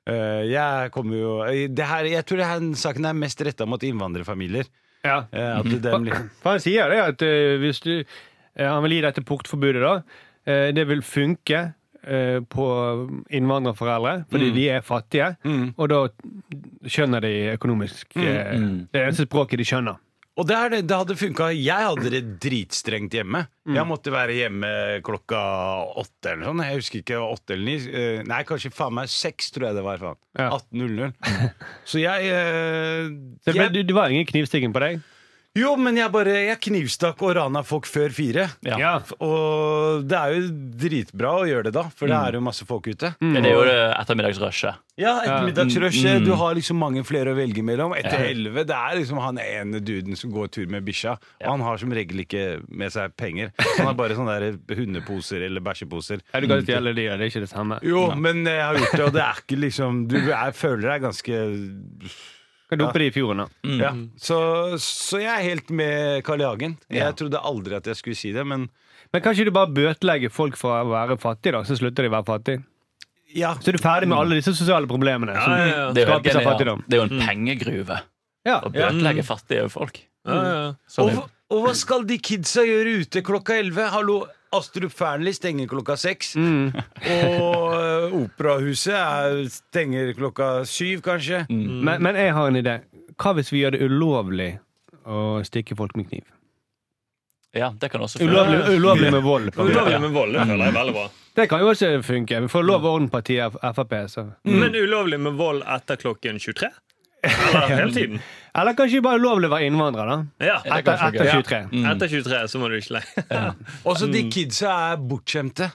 [SPEAKER 3] eh, jeg kommer jo eh, det her, Jeg tror denne saken er mest retta mot innvandrerfamilier.
[SPEAKER 2] Ja.
[SPEAKER 3] Eh, at dem, liksom-
[SPEAKER 2] For han sier det at eh, hvis du eh, Han vil gi dette portforbudet, da. eh, det vil funke eh, på innvandrerforeldre, fordi de er fattige. Og da skjønner de økonomisk eh, Det er eneste språket de skjønner.
[SPEAKER 3] Og det, er det, det hadde funka. Jeg hadde det dritstrengt hjemme.
[SPEAKER 2] Mm.
[SPEAKER 3] Jeg måtte være hjemme klokka åtte eller sånn. Jeg husker ikke åtte eller ni. Eh, Nei, kanskje faen meg seks, tror jeg det var. faen
[SPEAKER 2] Ja.
[SPEAKER 3] 18.00. Så jeg, eh,
[SPEAKER 2] Så det, ble,
[SPEAKER 3] jeg
[SPEAKER 2] det var ingen knivstikking på deg?
[SPEAKER 3] Jo, men jeg bare Jeg knivstakk og rana folk før fire.
[SPEAKER 4] Ja.
[SPEAKER 3] Og det er jo dritbra å gjøre det da, for
[SPEAKER 2] Mm.
[SPEAKER 3] det er jo masse folk ute.
[SPEAKER 4] Ja, Det er jo det ettermiddagsrushet.
[SPEAKER 3] Ja, ettermiddagsrushet. Du har liksom mange flere å velge mellom. Etter elleve det er liksom han ene duden som går tur med bikkja. Og han har som regel ikke med seg penger. Han har bare sånne der hundeposer eller bæsjeposer.
[SPEAKER 2] Ja, du kan stjele de, og det er ikke det samme.
[SPEAKER 3] Jo, men jeg har gjort det, og det er ikke liksom Du jeg føler deg ganske
[SPEAKER 2] Kan dumpe de i fjorden, da.
[SPEAKER 3] Ja. Så, så jeg er helt med Carl I. Hagen. Jeg trodde aldri at jeg skulle si det, men
[SPEAKER 2] Men kan ikke du bare bøtelegge folk for å være fattige, da? Så slutter de å være fattige.
[SPEAKER 3] Ja.
[SPEAKER 2] Så er du ferdig med alle disse sosiale problemene. som
[SPEAKER 6] Ja, ja, ja.
[SPEAKER 4] Det er jo, helt
[SPEAKER 2] skapes av
[SPEAKER 4] genialt.
[SPEAKER 2] fattigdom.
[SPEAKER 4] det er jo en pengegruve
[SPEAKER 2] Ja.
[SPEAKER 4] å bøtelegge fattige folk.
[SPEAKER 6] Ja, ja.
[SPEAKER 4] Sånn
[SPEAKER 3] Og,
[SPEAKER 4] er
[SPEAKER 3] hva- og hva skal de kidsa gjøre ute klokka 11? Hallo, Astrup Fearnley stenger klokka 6.
[SPEAKER 2] Mm.
[SPEAKER 3] Og eh, Operahuset er, stenger klokka 7, kanskje.
[SPEAKER 2] Mm. Men, men jeg har en idé. Hva hvis vi gjør det ulovlig å stikke folk med kniv?
[SPEAKER 4] det. Ja, det kan også
[SPEAKER 2] Ulovlig,
[SPEAKER 4] fungere.
[SPEAKER 2] ulovlig med vold. på en måte.
[SPEAKER 6] Ulovlig med vold det føler jeg er veldig bra.
[SPEAKER 2] Det kan jo også funke. Vi får lov og orden-partiet Frp. Så.
[SPEAKER 6] Men ulovlig med vold etter klokken 23? Eller hele tiden?
[SPEAKER 2] Eller kanskje bare ulovlig å være innvandrer, da.
[SPEAKER 6] Ja.
[SPEAKER 4] Ja, det kan
[SPEAKER 2] Etter,
[SPEAKER 4] funke.
[SPEAKER 2] etter 23.
[SPEAKER 6] Etter 23 så må du ikke leie.
[SPEAKER 3] Også de kidsa er bortskjemte.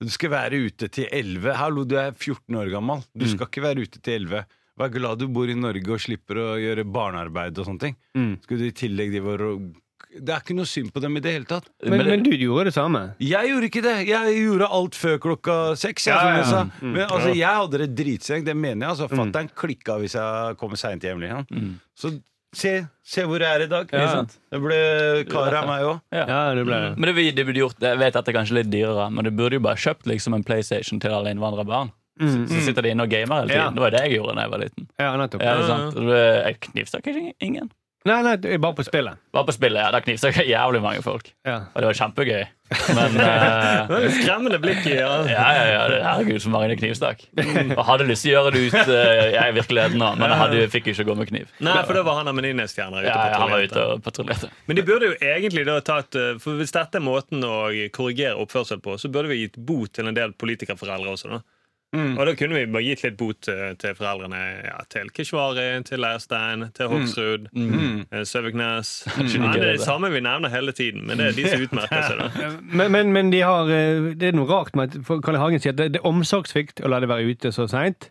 [SPEAKER 3] Du skal være ute til 11. Hallo, du er 14 år gammel. Du skal ikke være ute til 11. Vær glad du bor i Norge og slipper å gjøre barnearbeid og sånne ting.
[SPEAKER 2] Mm.
[SPEAKER 3] Skal du i tillegg de var Det er ikke noe synd på dem i det hele tatt.
[SPEAKER 2] Men, men du gjorde det samme.
[SPEAKER 3] Jeg gjorde ikke det. Jeg gjorde alt før klokka seks. jeg, som jeg sa. Men altså, jeg hadde det dritseng, det mener jeg. Altså, Fatter'n klikka hvis jeg kom seint hjem. Liksom. Så se, se hvor jeg er i dag.
[SPEAKER 2] Ja.
[SPEAKER 3] Det ble kar av meg òg.
[SPEAKER 4] Ja.
[SPEAKER 2] Ja, det ble det.
[SPEAKER 4] Men det, vi- det burde gjort, jeg vet at det er kanskje litt dyrere, men du burde jo bare kjøpt liksom en PlayStation til alle innvandrerbarn. Så, så sitter de inne og gamer hele tiden.
[SPEAKER 2] Ja.
[SPEAKER 4] Det var det jeg gjorde da jeg var liten.
[SPEAKER 2] Ja, nettopp.
[SPEAKER 4] Ja, det er sant. Og det- Jeg knivstakk ikke ingen.
[SPEAKER 2] Nei, nei, det er bare på spillet.
[SPEAKER 4] Bare på spillet, ja. Da knivstakk jeg jævlig mange folk.
[SPEAKER 2] Ja.
[SPEAKER 4] Og det var kjempegøy. Men eh,
[SPEAKER 6] Det er litt skremmende blikk i ja.
[SPEAKER 4] ja, ja, ja, det- herregud, så mange det knivstakk. Og hadde lyst til å gjøre det ut eh, jeg i virkeligheten, da, men jeg hadde, fikk jo ikke gå med kniv.
[SPEAKER 6] Nei, for det var han Aminines-stjerner ute
[SPEAKER 4] Ja, ja,
[SPEAKER 6] på
[SPEAKER 4] han var
[SPEAKER 6] toalettet.
[SPEAKER 4] ute og patruljerte.
[SPEAKER 6] Men de burde jo egentlig da tatt eh, For hvis dette er måten å korrigere oppførsel på, så burde vi gitt bot til en del politikerforeldre også, da. Og da kunne vi bare gitt litt bot eh, til foreldrene ja, til Keshvari, til Leirstein, til Hoksrud, eh, Søviknes Nei, Det er de samme vi nevner hele tiden, men det er de som utmerker seg, da.
[SPEAKER 2] Men, men, men de har, eh, det er noe rart med at for Karl I. Hagen sier at det, det er omsorgssvikt å la det være ute så seint.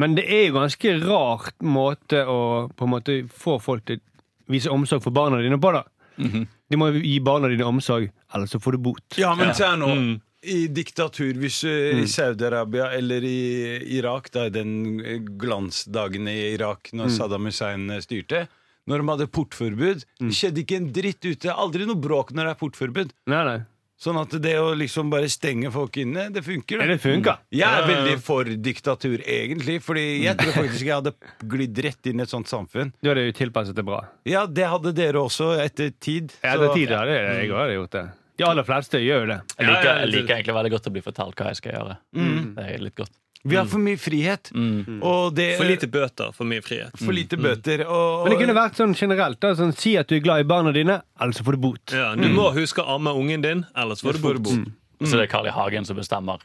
[SPEAKER 2] Men det er jo ganske rart måte å på en måte få folk til å vise omsorg for barna dine på. da. De må jo gi barna dine omsorg, ellers så får du bot.
[SPEAKER 3] Ja, men se her nå. Mm. I diktatur, hvis du i Saudi-Arabia eller i Irak, da i den eh, glansdagen i Irak når Saddam Hussein eh, styrte Når de hadde portforbud, det skjedde ikke en dritt ute. Aldri noe bråk når det er portforbud.
[SPEAKER 2] Nei, nei.
[SPEAKER 3] Sånn at det å liksom bare stenge folk inne, det funker. Mm.
[SPEAKER 2] Men det funker.
[SPEAKER 3] Jeg er veldig for diktatur, egentlig. Fordi jeg tror faktisk jeg hadde glidd rett inn i et sånt samfunn.
[SPEAKER 2] Da er det jo tilpasset det bra.
[SPEAKER 3] Ja, det hadde dere også, etter tid.
[SPEAKER 2] Ja,
[SPEAKER 3] så-
[SPEAKER 2] det er tid, ja. Det er, jeg har gjort det. Mm. De aller fleste gjør jo det.
[SPEAKER 4] Jeg
[SPEAKER 6] Ja,
[SPEAKER 4] liker,
[SPEAKER 6] ja, Mm.
[SPEAKER 4] jeg
[SPEAKER 6] det-
[SPEAKER 4] liker egentlig veldig godt å bli fortalt hva jeg skal gjøre. Det er litt godt.
[SPEAKER 3] Vi
[SPEAKER 2] Mm.
[SPEAKER 3] har for mye frihet. Og det,
[SPEAKER 6] For lite bøter, for mye frihet.
[SPEAKER 3] for lite bøter. Og,
[SPEAKER 2] Mm. Men det kunne vært sånn generelt. Da, sånn, si at du er glad i barna dine, ellers så får du bot.
[SPEAKER 6] Ja, du må huske å amme ungen din, ellers Mm. får du bot.
[SPEAKER 4] Så
[SPEAKER 6] Mm.
[SPEAKER 4] det er Carl I. Hagen som bestemmer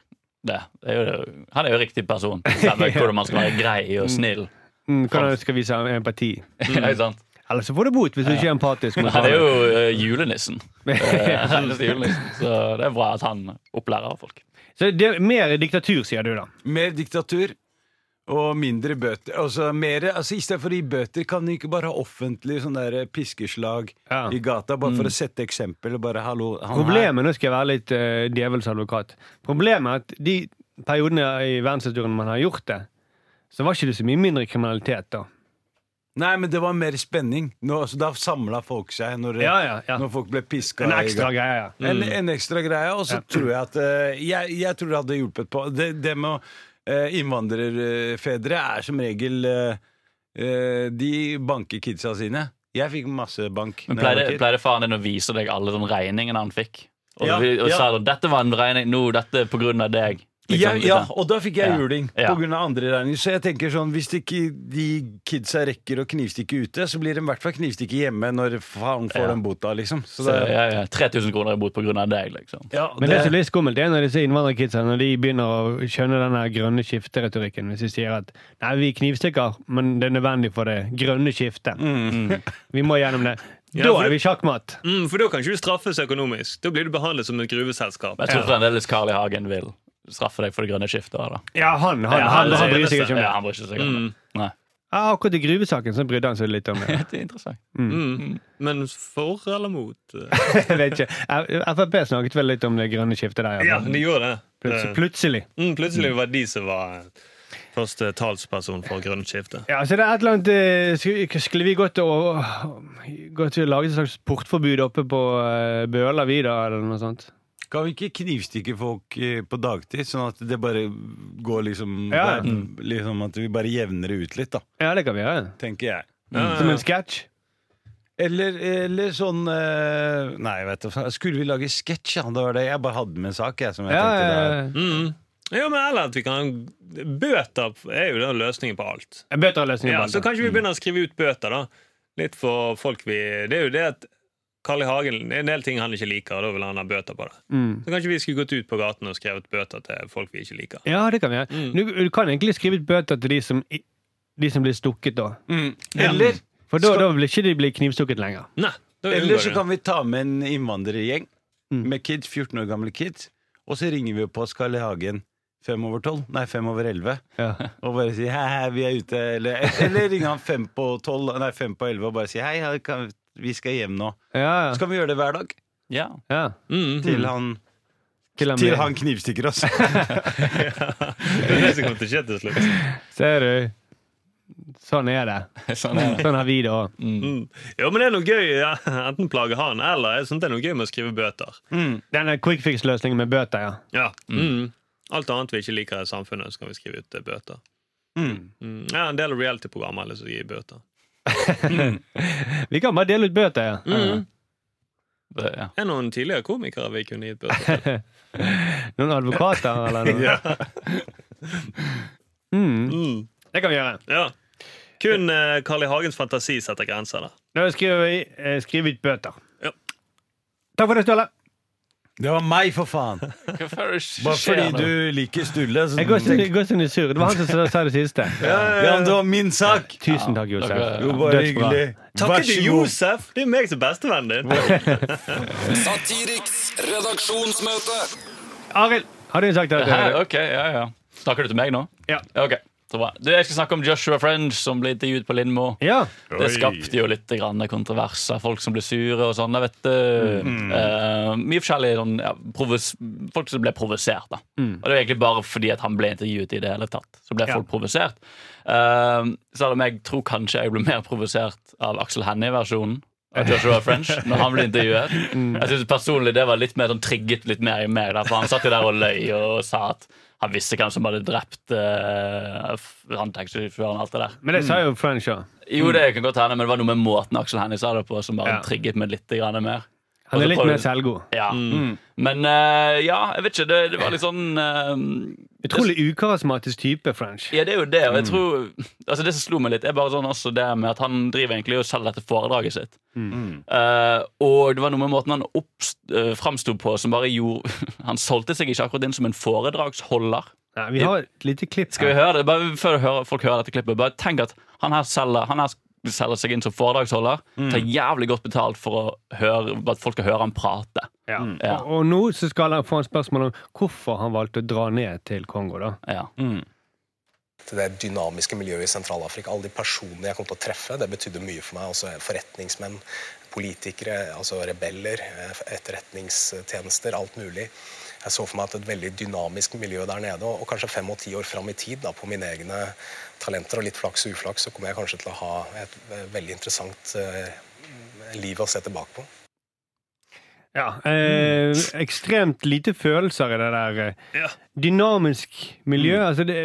[SPEAKER 4] det. det, er jo, han er jo riktig person. Bestemmer hvordan man skal være grei og snill.
[SPEAKER 2] Mm, Hvordan du skal vise empati.
[SPEAKER 6] Mm.
[SPEAKER 4] Ikke sant?
[SPEAKER 2] Ellers så får du bot hvis du ikke er empatisk. mot
[SPEAKER 4] Han er
[SPEAKER 2] barna.
[SPEAKER 4] jo eh, julenissen. Eh, han er julenissen. Så det er bra at han opplærer folk.
[SPEAKER 2] Så det er mer diktatur, sier du da.
[SPEAKER 3] Mer diktatur og mindre bøter. Altså, mer, altså Istedenfor å gi bøter, kan vi ikke bare ha offentlig sånn der piskeslag
[SPEAKER 2] Ja. Mm.
[SPEAKER 3] i gata? Bare for å sette eksempel. og Bare, hallo, han her-
[SPEAKER 2] Problemet, nå skal jeg være litt uh, djevelens advokat Problemet er at de periodene i verdenshistorien man har gjort det, så var ikke det så mye mindre kriminalitet da.
[SPEAKER 3] Nei, men det var mer spenning. Nå, altså, da samla folk seg når, det,
[SPEAKER 2] Ja, ja, ja.
[SPEAKER 3] når folk ble piska.
[SPEAKER 2] En
[SPEAKER 3] i
[SPEAKER 2] ekstra
[SPEAKER 3] gang.
[SPEAKER 2] greie, ja.
[SPEAKER 3] En, en ekstra greie. Og så tror jeg at eh, jeg, jeg tror det hadde hjulpet på. Det, det med å, eh, innvandrerfedre er som regel eh, eh, De banker kidsa sine. Jeg fikk masse bank.
[SPEAKER 4] Men
[SPEAKER 3] når jeg var
[SPEAKER 4] pleide,
[SPEAKER 3] kid.
[SPEAKER 4] pleide faren din å vise deg alle den regningen han fikk? Og,
[SPEAKER 3] Ja,
[SPEAKER 4] vi- og
[SPEAKER 3] ja.
[SPEAKER 4] sa da, 'dette var en regning nå, dette er på grunn av deg'?
[SPEAKER 3] ja,
[SPEAKER 4] Liksom,
[SPEAKER 3] ja,
[SPEAKER 4] liksom.
[SPEAKER 3] og da fikk jeg
[SPEAKER 4] Ja.
[SPEAKER 3] juling
[SPEAKER 4] Ja.
[SPEAKER 3] på grunn av andre regninger. Så jeg tenker sånn, hvis ikke de kidsa rekker å knivstikke ute, så blir de i hvert fall knivstikke hjemme når faen får
[SPEAKER 4] Ja.
[SPEAKER 3] den bota, liksom. Så
[SPEAKER 4] Så,
[SPEAKER 3] det,
[SPEAKER 4] ja, ja, 3000 kroner i bot på grunn av deg, liksom.
[SPEAKER 3] ja,
[SPEAKER 2] Men det, som blir skummelt, det er når disse innvandrerkidsa når de begynner å skjønne denne grønne skifteretorikken. Hvis de sier at nei, vi knivstikker, men det er nødvendig for det grønne skiftet. Vi må gjennom det.
[SPEAKER 6] Ja,
[SPEAKER 2] Da
[SPEAKER 6] for-
[SPEAKER 2] er vi sjakkmatt!
[SPEAKER 6] Mm, for da kan ikke du straffes økonomisk. Da blir du behandlet som et gruveselskap.
[SPEAKER 4] Men jeg tror fremdeles Carl I. Hagen vil straffe deg for det grønne skiftet. Da.
[SPEAKER 2] Ja, han, han,
[SPEAKER 4] Ja,
[SPEAKER 2] han,
[SPEAKER 4] det
[SPEAKER 2] han bryr
[SPEAKER 6] eneste.
[SPEAKER 2] seg ikke om det.
[SPEAKER 4] Ja, han bryr ikke seg om det. Nei.
[SPEAKER 2] Ja, akkurat i gruvesaken så brydde han seg litt om det.
[SPEAKER 4] Det er interessant.
[SPEAKER 6] Mm. Men for eller mot?
[SPEAKER 2] Jeg vet ikke. Frp snakket vel litt om det grønne skiftet der. i hvert
[SPEAKER 6] Ja, Eh.
[SPEAKER 2] fall.
[SPEAKER 6] de gjorde Mm, det.
[SPEAKER 2] Plutselig. plutselig.
[SPEAKER 6] Mm, plutselig var det de som var Første talsperson for grønt
[SPEAKER 3] Mm.
[SPEAKER 6] skifte.
[SPEAKER 2] Ja, så det er et eller annet eh, sk- Skulle vi gått og gått og laget et slags portforbud oppe på eh, Bøler, vi da, eller noe sånt?
[SPEAKER 3] Kan vi ikke knivstikke folk eh, på dagtid, sånn at det bare går liksom
[SPEAKER 2] Ja. Mm.
[SPEAKER 3] Liksom At vi bare jevner det ut litt, da,
[SPEAKER 2] Ja, det kan vi gjøre.
[SPEAKER 3] tenker jeg.
[SPEAKER 6] Eh.
[SPEAKER 2] Som en sketsj.
[SPEAKER 3] Eller, eller sånn eh, Nei, vet du, faen, skulle vi lage sketsj? Ja, det var det. Jeg bare hadde med en sak, jeg, som jeg
[SPEAKER 2] Ja,
[SPEAKER 3] tenkte
[SPEAKER 2] ja,
[SPEAKER 3] da-
[SPEAKER 2] ja.
[SPEAKER 6] Mm. Ja, men eller at vi kan Bøter er jo den løsningen på alt.
[SPEAKER 2] En bøterløsning.
[SPEAKER 6] Ja, så kanskje vi
[SPEAKER 3] Mm.
[SPEAKER 6] begynner å skrive ut bøter, da. Litt for folk vi Det er jo det at Carl I. Hagen det er en del ting han ikke liker, og da vil han ha bøter på det.
[SPEAKER 2] Mm.
[SPEAKER 6] Så kanskje vi skulle gått ut på gaten og skrevet bøter til folk vi ikke liker.
[SPEAKER 2] Ja, det kan vi gjøre.
[SPEAKER 6] Mm.
[SPEAKER 2] Du, du kan egentlig skrive ut bøter til de som, i- de som blir stukket, da.
[SPEAKER 3] Mm. Eller,
[SPEAKER 2] For da,
[SPEAKER 3] Skal-
[SPEAKER 2] da vil ikke de bli knivstukket lenger.
[SPEAKER 6] Nei, da
[SPEAKER 3] eller
[SPEAKER 6] unngår
[SPEAKER 3] så
[SPEAKER 6] vi det.
[SPEAKER 3] kan vi ta med en innvandrergjeng
[SPEAKER 2] Mm.
[SPEAKER 3] med kids, 14 år gamle kids, og så ringer vi på Skarli Hagen fem over tolv, nei, fem over elleve,
[SPEAKER 2] Ja.
[SPEAKER 3] og bare sier hei, hei, vi er ute, eller, eller ringer han fem på tolv, nei, fem på elleve, og bare sier hei, her kan, vi skal hjem nå.
[SPEAKER 2] Ja,
[SPEAKER 3] Så kan vi gjøre det hver dag,
[SPEAKER 4] Ja.
[SPEAKER 2] ja.
[SPEAKER 6] Mm.
[SPEAKER 3] til han,
[SPEAKER 2] Til og med-
[SPEAKER 3] til han knivstikker oss.
[SPEAKER 6] Det er det som kommer til å skje til slutt.
[SPEAKER 2] Ser du. Sånn er det.
[SPEAKER 4] Sånn er det.
[SPEAKER 2] Sånn har vi det òg.
[SPEAKER 6] Mm. Jo, men det er noe gøy. Ja. Enten plage han, eller jeg synes det er noe gøy med å skrive bøter.
[SPEAKER 2] Denne quick fix-løsningen med bøter, ja.
[SPEAKER 6] Ja. Mm. Alt annet vi ikke liker i samfunnet, så kan vi skrive ut eh, bøter.
[SPEAKER 3] Mm.
[SPEAKER 6] Mm. Ja, en del reality-programmer eller så gir bøter.
[SPEAKER 2] Vi kan bare dele ut bøter, ja.
[SPEAKER 4] Mm. Det, ja.
[SPEAKER 6] Det er noen tidligere komikere vi kunne gitt bøter til.
[SPEAKER 2] Noen advokater, eller noe. Mm,
[SPEAKER 6] Mm.
[SPEAKER 2] det kan vi gjøre.
[SPEAKER 6] Ja. Kun eh, Carl I. Hagens fantasi setter grenser der.
[SPEAKER 2] Da skriver vi eh, skriv ut bøter.
[SPEAKER 6] Ja.
[SPEAKER 2] Takk for det, Ståle.
[SPEAKER 3] Det var meg, for faen.
[SPEAKER 4] Bare
[SPEAKER 3] Bare fordi du liker Sturle. så-
[SPEAKER 2] Jeg går så- jeg
[SPEAKER 4] Mm.
[SPEAKER 2] går så sur. Det var han som sa- sa det siste.
[SPEAKER 3] Ja, men det var min sak!
[SPEAKER 2] Tusen takk, Josef.
[SPEAKER 4] takk, ja.
[SPEAKER 3] Jo, bare
[SPEAKER 2] Dødsbra.
[SPEAKER 3] hyggelig. Vær
[SPEAKER 6] Takker
[SPEAKER 3] så
[SPEAKER 6] til
[SPEAKER 3] god.
[SPEAKER 6] Josef! Det er meg som er bestevennen din.
[SPEAKER 5] Satiriks redaksjonsmøte.
[SPEAKER 2] Arild, har du en sak til deg?
[SPEAKER 4] Hæ? Ok, ja, ja. Snakker du til meg nå?
[SPEAKER 2] Ja.
[SPEAKER 4] Ok, så bra. Du, jeg skal snakke om Joshua French som ble intervjuet på Lindmo.
[SPEAKER 2] Ja.
[SPEAKER 6] Oi.
[SPEAKER 4] Det skapte jo litt grann kontroverser. Folk som ble sure og sånn. da, vet du. Eh, mye forskjellig sånn, ja, provos Folk som ble provosert. da. Og det var egentlig bare fordi at han ble intervjuet i det hele tatt. Så ble folk provosert. Eh, selv om jeg tror kanskje jeg ble mer provosert av Axel Hennie-versjonen. Av Joshua French, når han ble intervjuet. Jeg synes personlig det var litt mer sånn trigget litt mer i meg. Da, for han satt jo der og løy og sa at han visste hvem som hadde drept uh, han taxisjåføren og alt det der.
[SPEAKER 2] Men det sa jo French òg.
[SPEAKER 4] Jo, det kan godt hende, men det var noe med måten Aksel Hennie sa det på som bare
[SPEAKER 2] Ja.
[SPEAKER 4] trigget meg litt grann mer.
[SPEAKER 2] Han er
[SPEAKER 4] Og så
[SPEAKER 2] litt
[SPEAKER 4] prøvde-
[SPEAKER 2] mer selvgod.
[SPEAKER 4] Ja. Men eh, ja, jeg vet ikke. Det, det var litt sånn eh,
[SPEAKER 2] Utrolig ukarismatisk type, French.
[SPEAKER 4] Ja, det er jo det. Og jeg tror Altså, det som slo meg litt, er bare sånn også det med at han driver egentlig og selger dette foredraget sitt.
[SPEAKER 2] Mm.
[SPEAKER 4] Eh, og det var noe med måten han uh, framsto på som bare gjorde Han solgte seg ikke akkurat inn som en foredragsholder.
[SPEAKER 2] Nei, vi har et lite klipp.
[SPEAKER 4] Skal vi høre det? Bare før hører, folk hører dette klippet, bare tenk at han her selger, han her selger seg inn som foredragsholder.
[SPEAKER 2] Mm.
[SPEAKER 4] Tar jævlig godt betalt for å høre, at folk skal høre han prate.
[SPEAKER 2] Ja.
[SPEAKER 4] Mm. Ja.
[SPEAKER 2] Og, og nå så skal han få en spørsmål om hvorfor han valgte å dra ned til Kongo. da.
[SPEAKER 4] Ja.
[SPEAKER 1] til det dynamiske miljøet i Sentral-Afrika. Alle de personene jeg kom til å treffe, det betydde mye for meg. Altså forretningsmenn, politikere, altså rebeller, eh, etterretningstjenester, alt mulig. Jeg så for meg at et veldig dynamisk miljø der nede, og og kanskje fem og ti år fram i tid, da, på mine egne talenter og litt flaks og uflaks, så kommer jeg kanskje til å ha et eh, veldig interessant eh, liv å se tilbake på.
[SPEAKER 2] Ja, eh, Ekstremt lite følelser i det der. eh,
[SPEAKER 6] Ja.
[SPEAKER 2] Dynamisk miljø. altså det,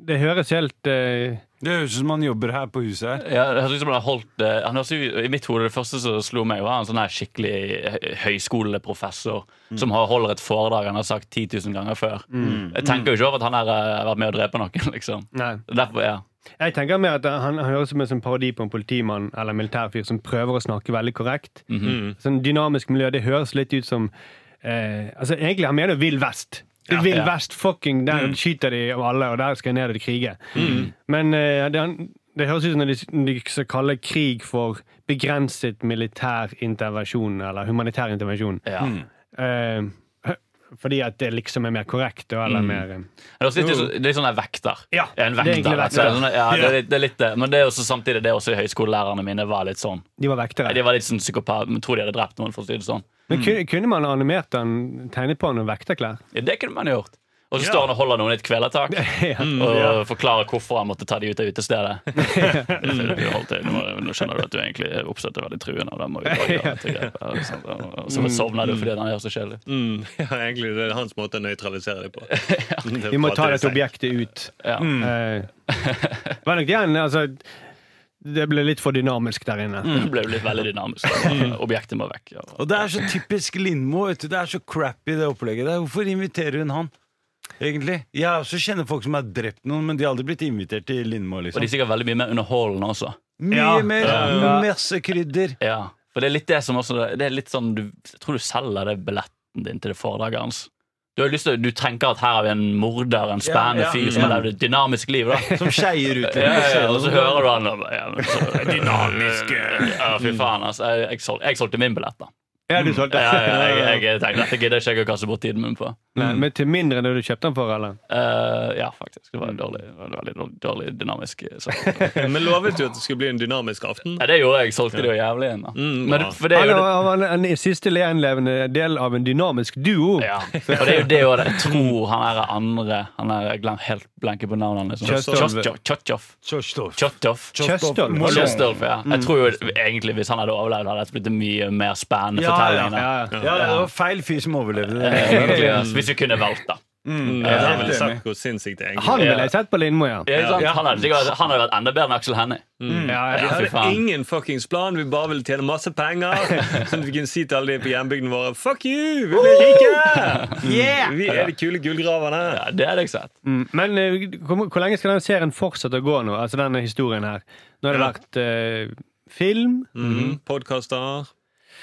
[SPEAKER 2] det høres helt eh,
[SPEAKER 3] Det høres ut som han jobber her på huset her.
[SPEAKER 4] Ja, det høres ut som han har holdt eh, han høres ut, I mitt hode, det første som slo meg, var en sånn her skikkelig hø- høyskoleprofessor
[SPEAKER 2] Mm.
[SPEAKER 4] som har, holder et foredrag han har sagt 10 000 ganger før. Jeg tenker jo ikke over at han her eh, har vært med å drepe noen, liksom.
[SPEAKER 2] Nei.
[SPEAKER 4] Derfor, ja.
[SPEAKER 2] Jeg tenker mer at han, han høres ut som en sånn parodi på en politimann eller en militærfyr som prøver å snakke veldig korrekt.
[SPEAKER 4] Mhm.
[SPEAKER 2] Sånn Dynamisk miljø, det høres litt ut som eh, altså Egentlig, han mener Vill Vest. Det er Vill
[SPEAKER 4] ja. Mhm.
[SPEAKER 2] Vest, fucking, der skyter de av alle, og der skal jeg ned og krige. Men eh, det, han- det høres ut som når de, når de skal kalle krig for begrenset militær intervensjon, eller humanitær intervensjon.
[SPEAKER 4] ja.
[SPEAKER 2] Eh, fordi at det liksom er mer korrekt, og
[SPEAKER 4] Mhm.
[SPEAKER 2] eller mer eh,
[SPEAKER 4] Det er, også litt, det er litt sånn der vekter.
[SPEAKER 2] Ja,
[SPEAKER 4] Jeg er en
[SPEAKER 2] det er egentlig
[SPEAKER 4] vekter. altså.
[SPEAKER 2] vekter.
[SPEAKER 4] Sånn, ja, det, er litt, det er litt det. Men det er også samtidig det også høyskolelærerne mine var litt sånn.
[SPEAKER 2] De var vektere.
[SPEAKER 4] De var litt sånn psykopat, men tror de hadde drept noen, for å si det sånn.
[SPEAKER 2] Men kunne, kunne man animert den, tegnet på han og vekterklær?
[SPEAKER 4] Ja, det kunne man gjort. Og så står han og holder noen i et kvelertak
[SPEAKER 2] Ja.
[SPEAKER 4] og forklarer hvorfor han måtte ta de ut av utestedet. Så vi holdt det. Nå, nå skjønner du at du egentlig oppstøtte veldig truende, og da må vi bare gjøre et grep. her, ikke sant? Og så sovner du fordi han gjør så kjedelig.
[SPEAKER 6] Mm, ja, egentlig det er hans måte å nøytralisere det på.
[SPEAKER 2] Vi må ta dette objektet ut.
[SPEAKER 4] Ja.
[SPEAKER 2] Eh, Men nok igjen, altså Det ble litt for dynamisk der inne.
[SPEAKER 4] Det ble jo litt veldig dynamisk. Objektet må vekk. Ja.
[SPEAKER 3] Og det er så typisk Lindmo. vet du. Det er så crappy, det opplegget der. Hvorfor inviterer hun han? Egentlig. Jeg også kjenner folk som har drept noen, men de har aldri blitt invitert til Lindmo.
[SPEAKER 4] Og de
[SPEAKER 3] Liksom.
[SPEAKER 4] er sikkert veldig mye mer underholdende også.
[SPEAKER 3] Mye
[SPEAKER 2] Ja.
[SPEAKER 3] mer!
[SPEAKER 2] Ja.
[SPEAKER 3] Masse krydder.
[SPEAKER 4] Ja. For det er litt det som også Det er litt sånn du, Jeg tror du selger det billetten din til det foredraget hans. Du, har lyst til, du tenker at her har vi en morder, en spennende
[SPEAKER 3] Ja, ja,
[SPEAKER 4] fyr som har
[SPEAKER 3] ja.
[SPEAKER 4] levd et dynamisk liv. da
[SPEAKER 3] Som skeier ut.
[SPEAKER 4] Mm. ja, ja, ja, og så hører du han og bare, ja, men så- Dynamisk Ja, fy faen, altså. Jeg, jeg, solgte, jeg solgte min billett, da.
[SPEAKER 2] Ja, du
[SPEAKER 4] Ja,
[SPEAKER 2] solgte.
[SPEAKER 4] jeg, jeg, jeg tenkte dette gidder ikke jeg å kaste bort tiden min på.
[SPEAKER 2] Nei, men til mindre enn det du kjøpte den for, eller?
[SPEAKER 4] Eh, ja, faktisk. Det var en dårlig, det var en veldig dårlig, dårlig dynamisk eh, sak.
[SPEAKER 6] Men lovet du at det skulle bli en dynamisk aften?
[SPEAKER 4] Nei, det gjorde jeg. Jeg solgte det jo jævlig inn. da.
[SPEAKER 6] Mm,
[SPEAKER 4] Men
[SPEAKER 6] bra.
[SPEAKER 4] for det er
[SPEAKER 2] Han
[SPEAKER 4] jo det
[SPEAKER 2] var han var en siste gjenlevende del av en dynamisk duo.
[SPEAKER 4] ja. Og det er jo det også, jeg tror han er andre Han er jeg glemmer helt blenke på navnet. Liksom.
[SPEAKER 2] Kjøstolv.
[SPEAKER 4] Kjøstolv. Kjøstolv. Kjøstolv.
[SPEAKER 2] Kjøstholm.
[SPEAKER 4] Og Kjøstolv, ja.
[SPEAKER 2] Mm.
[SPEAKER 4] Jeg tror jo egentlig hvis han hadde overlevd, hadde dette blitt en mye mer spennende
[SPEAKER 3] Ja,
[SPEAKER 4] fortelling. da.
[SPEAKER 2] Ja, ja.
[SPEAKER 3] Ja, det var feil fyr som overlevde det.
[SPEAKER 4] Eh, egentlig, altså, Hvis vi kunne valgt, da.
[SPEAKER 6] Ja, det har
[SPEAKER 3] helt
[SPEAKER 6] vel
[SPEAKER 3] enig.
[SPEAKER 6] sagt hvor sinnssykt det egentlig
[SPEAKER 2] Han
[SPEAKER 6] er.
[SPEAKER 2] ville jeg sett på Lindmo, ja. Mm.
[SPEAKER 4] Ja, ikke sant? Han hadde sikkert han hadde vært enda bedre enn Aksel Hennie.
[SPEAKER 2] Ja,
[SPEAKER 4] Mm. Ja,
[SPEAKER 2] ja.
[SPEAKER 4] fy
[SPEAKER 6] Vi hadde
[SPEAKER 4] faen.
[SPEAKER 6] ingen fuckings plan, vi bare ville tjene masse penger. Sånn at vi kunne si til alle de på hjembygden våre Fuck you! Vi blir rike! Vi er de kule gullgraverne.
[SPEAKER 4] Ja, det hadde jeg sett.
[SPEAKER 2] Mm, Men eh, hvor, hvor lenge skal den serien fortsette å gå nå? Altså denne historien her. Nå har det vært eh, film,
[SPEAKER 6] Mm. Podkaster,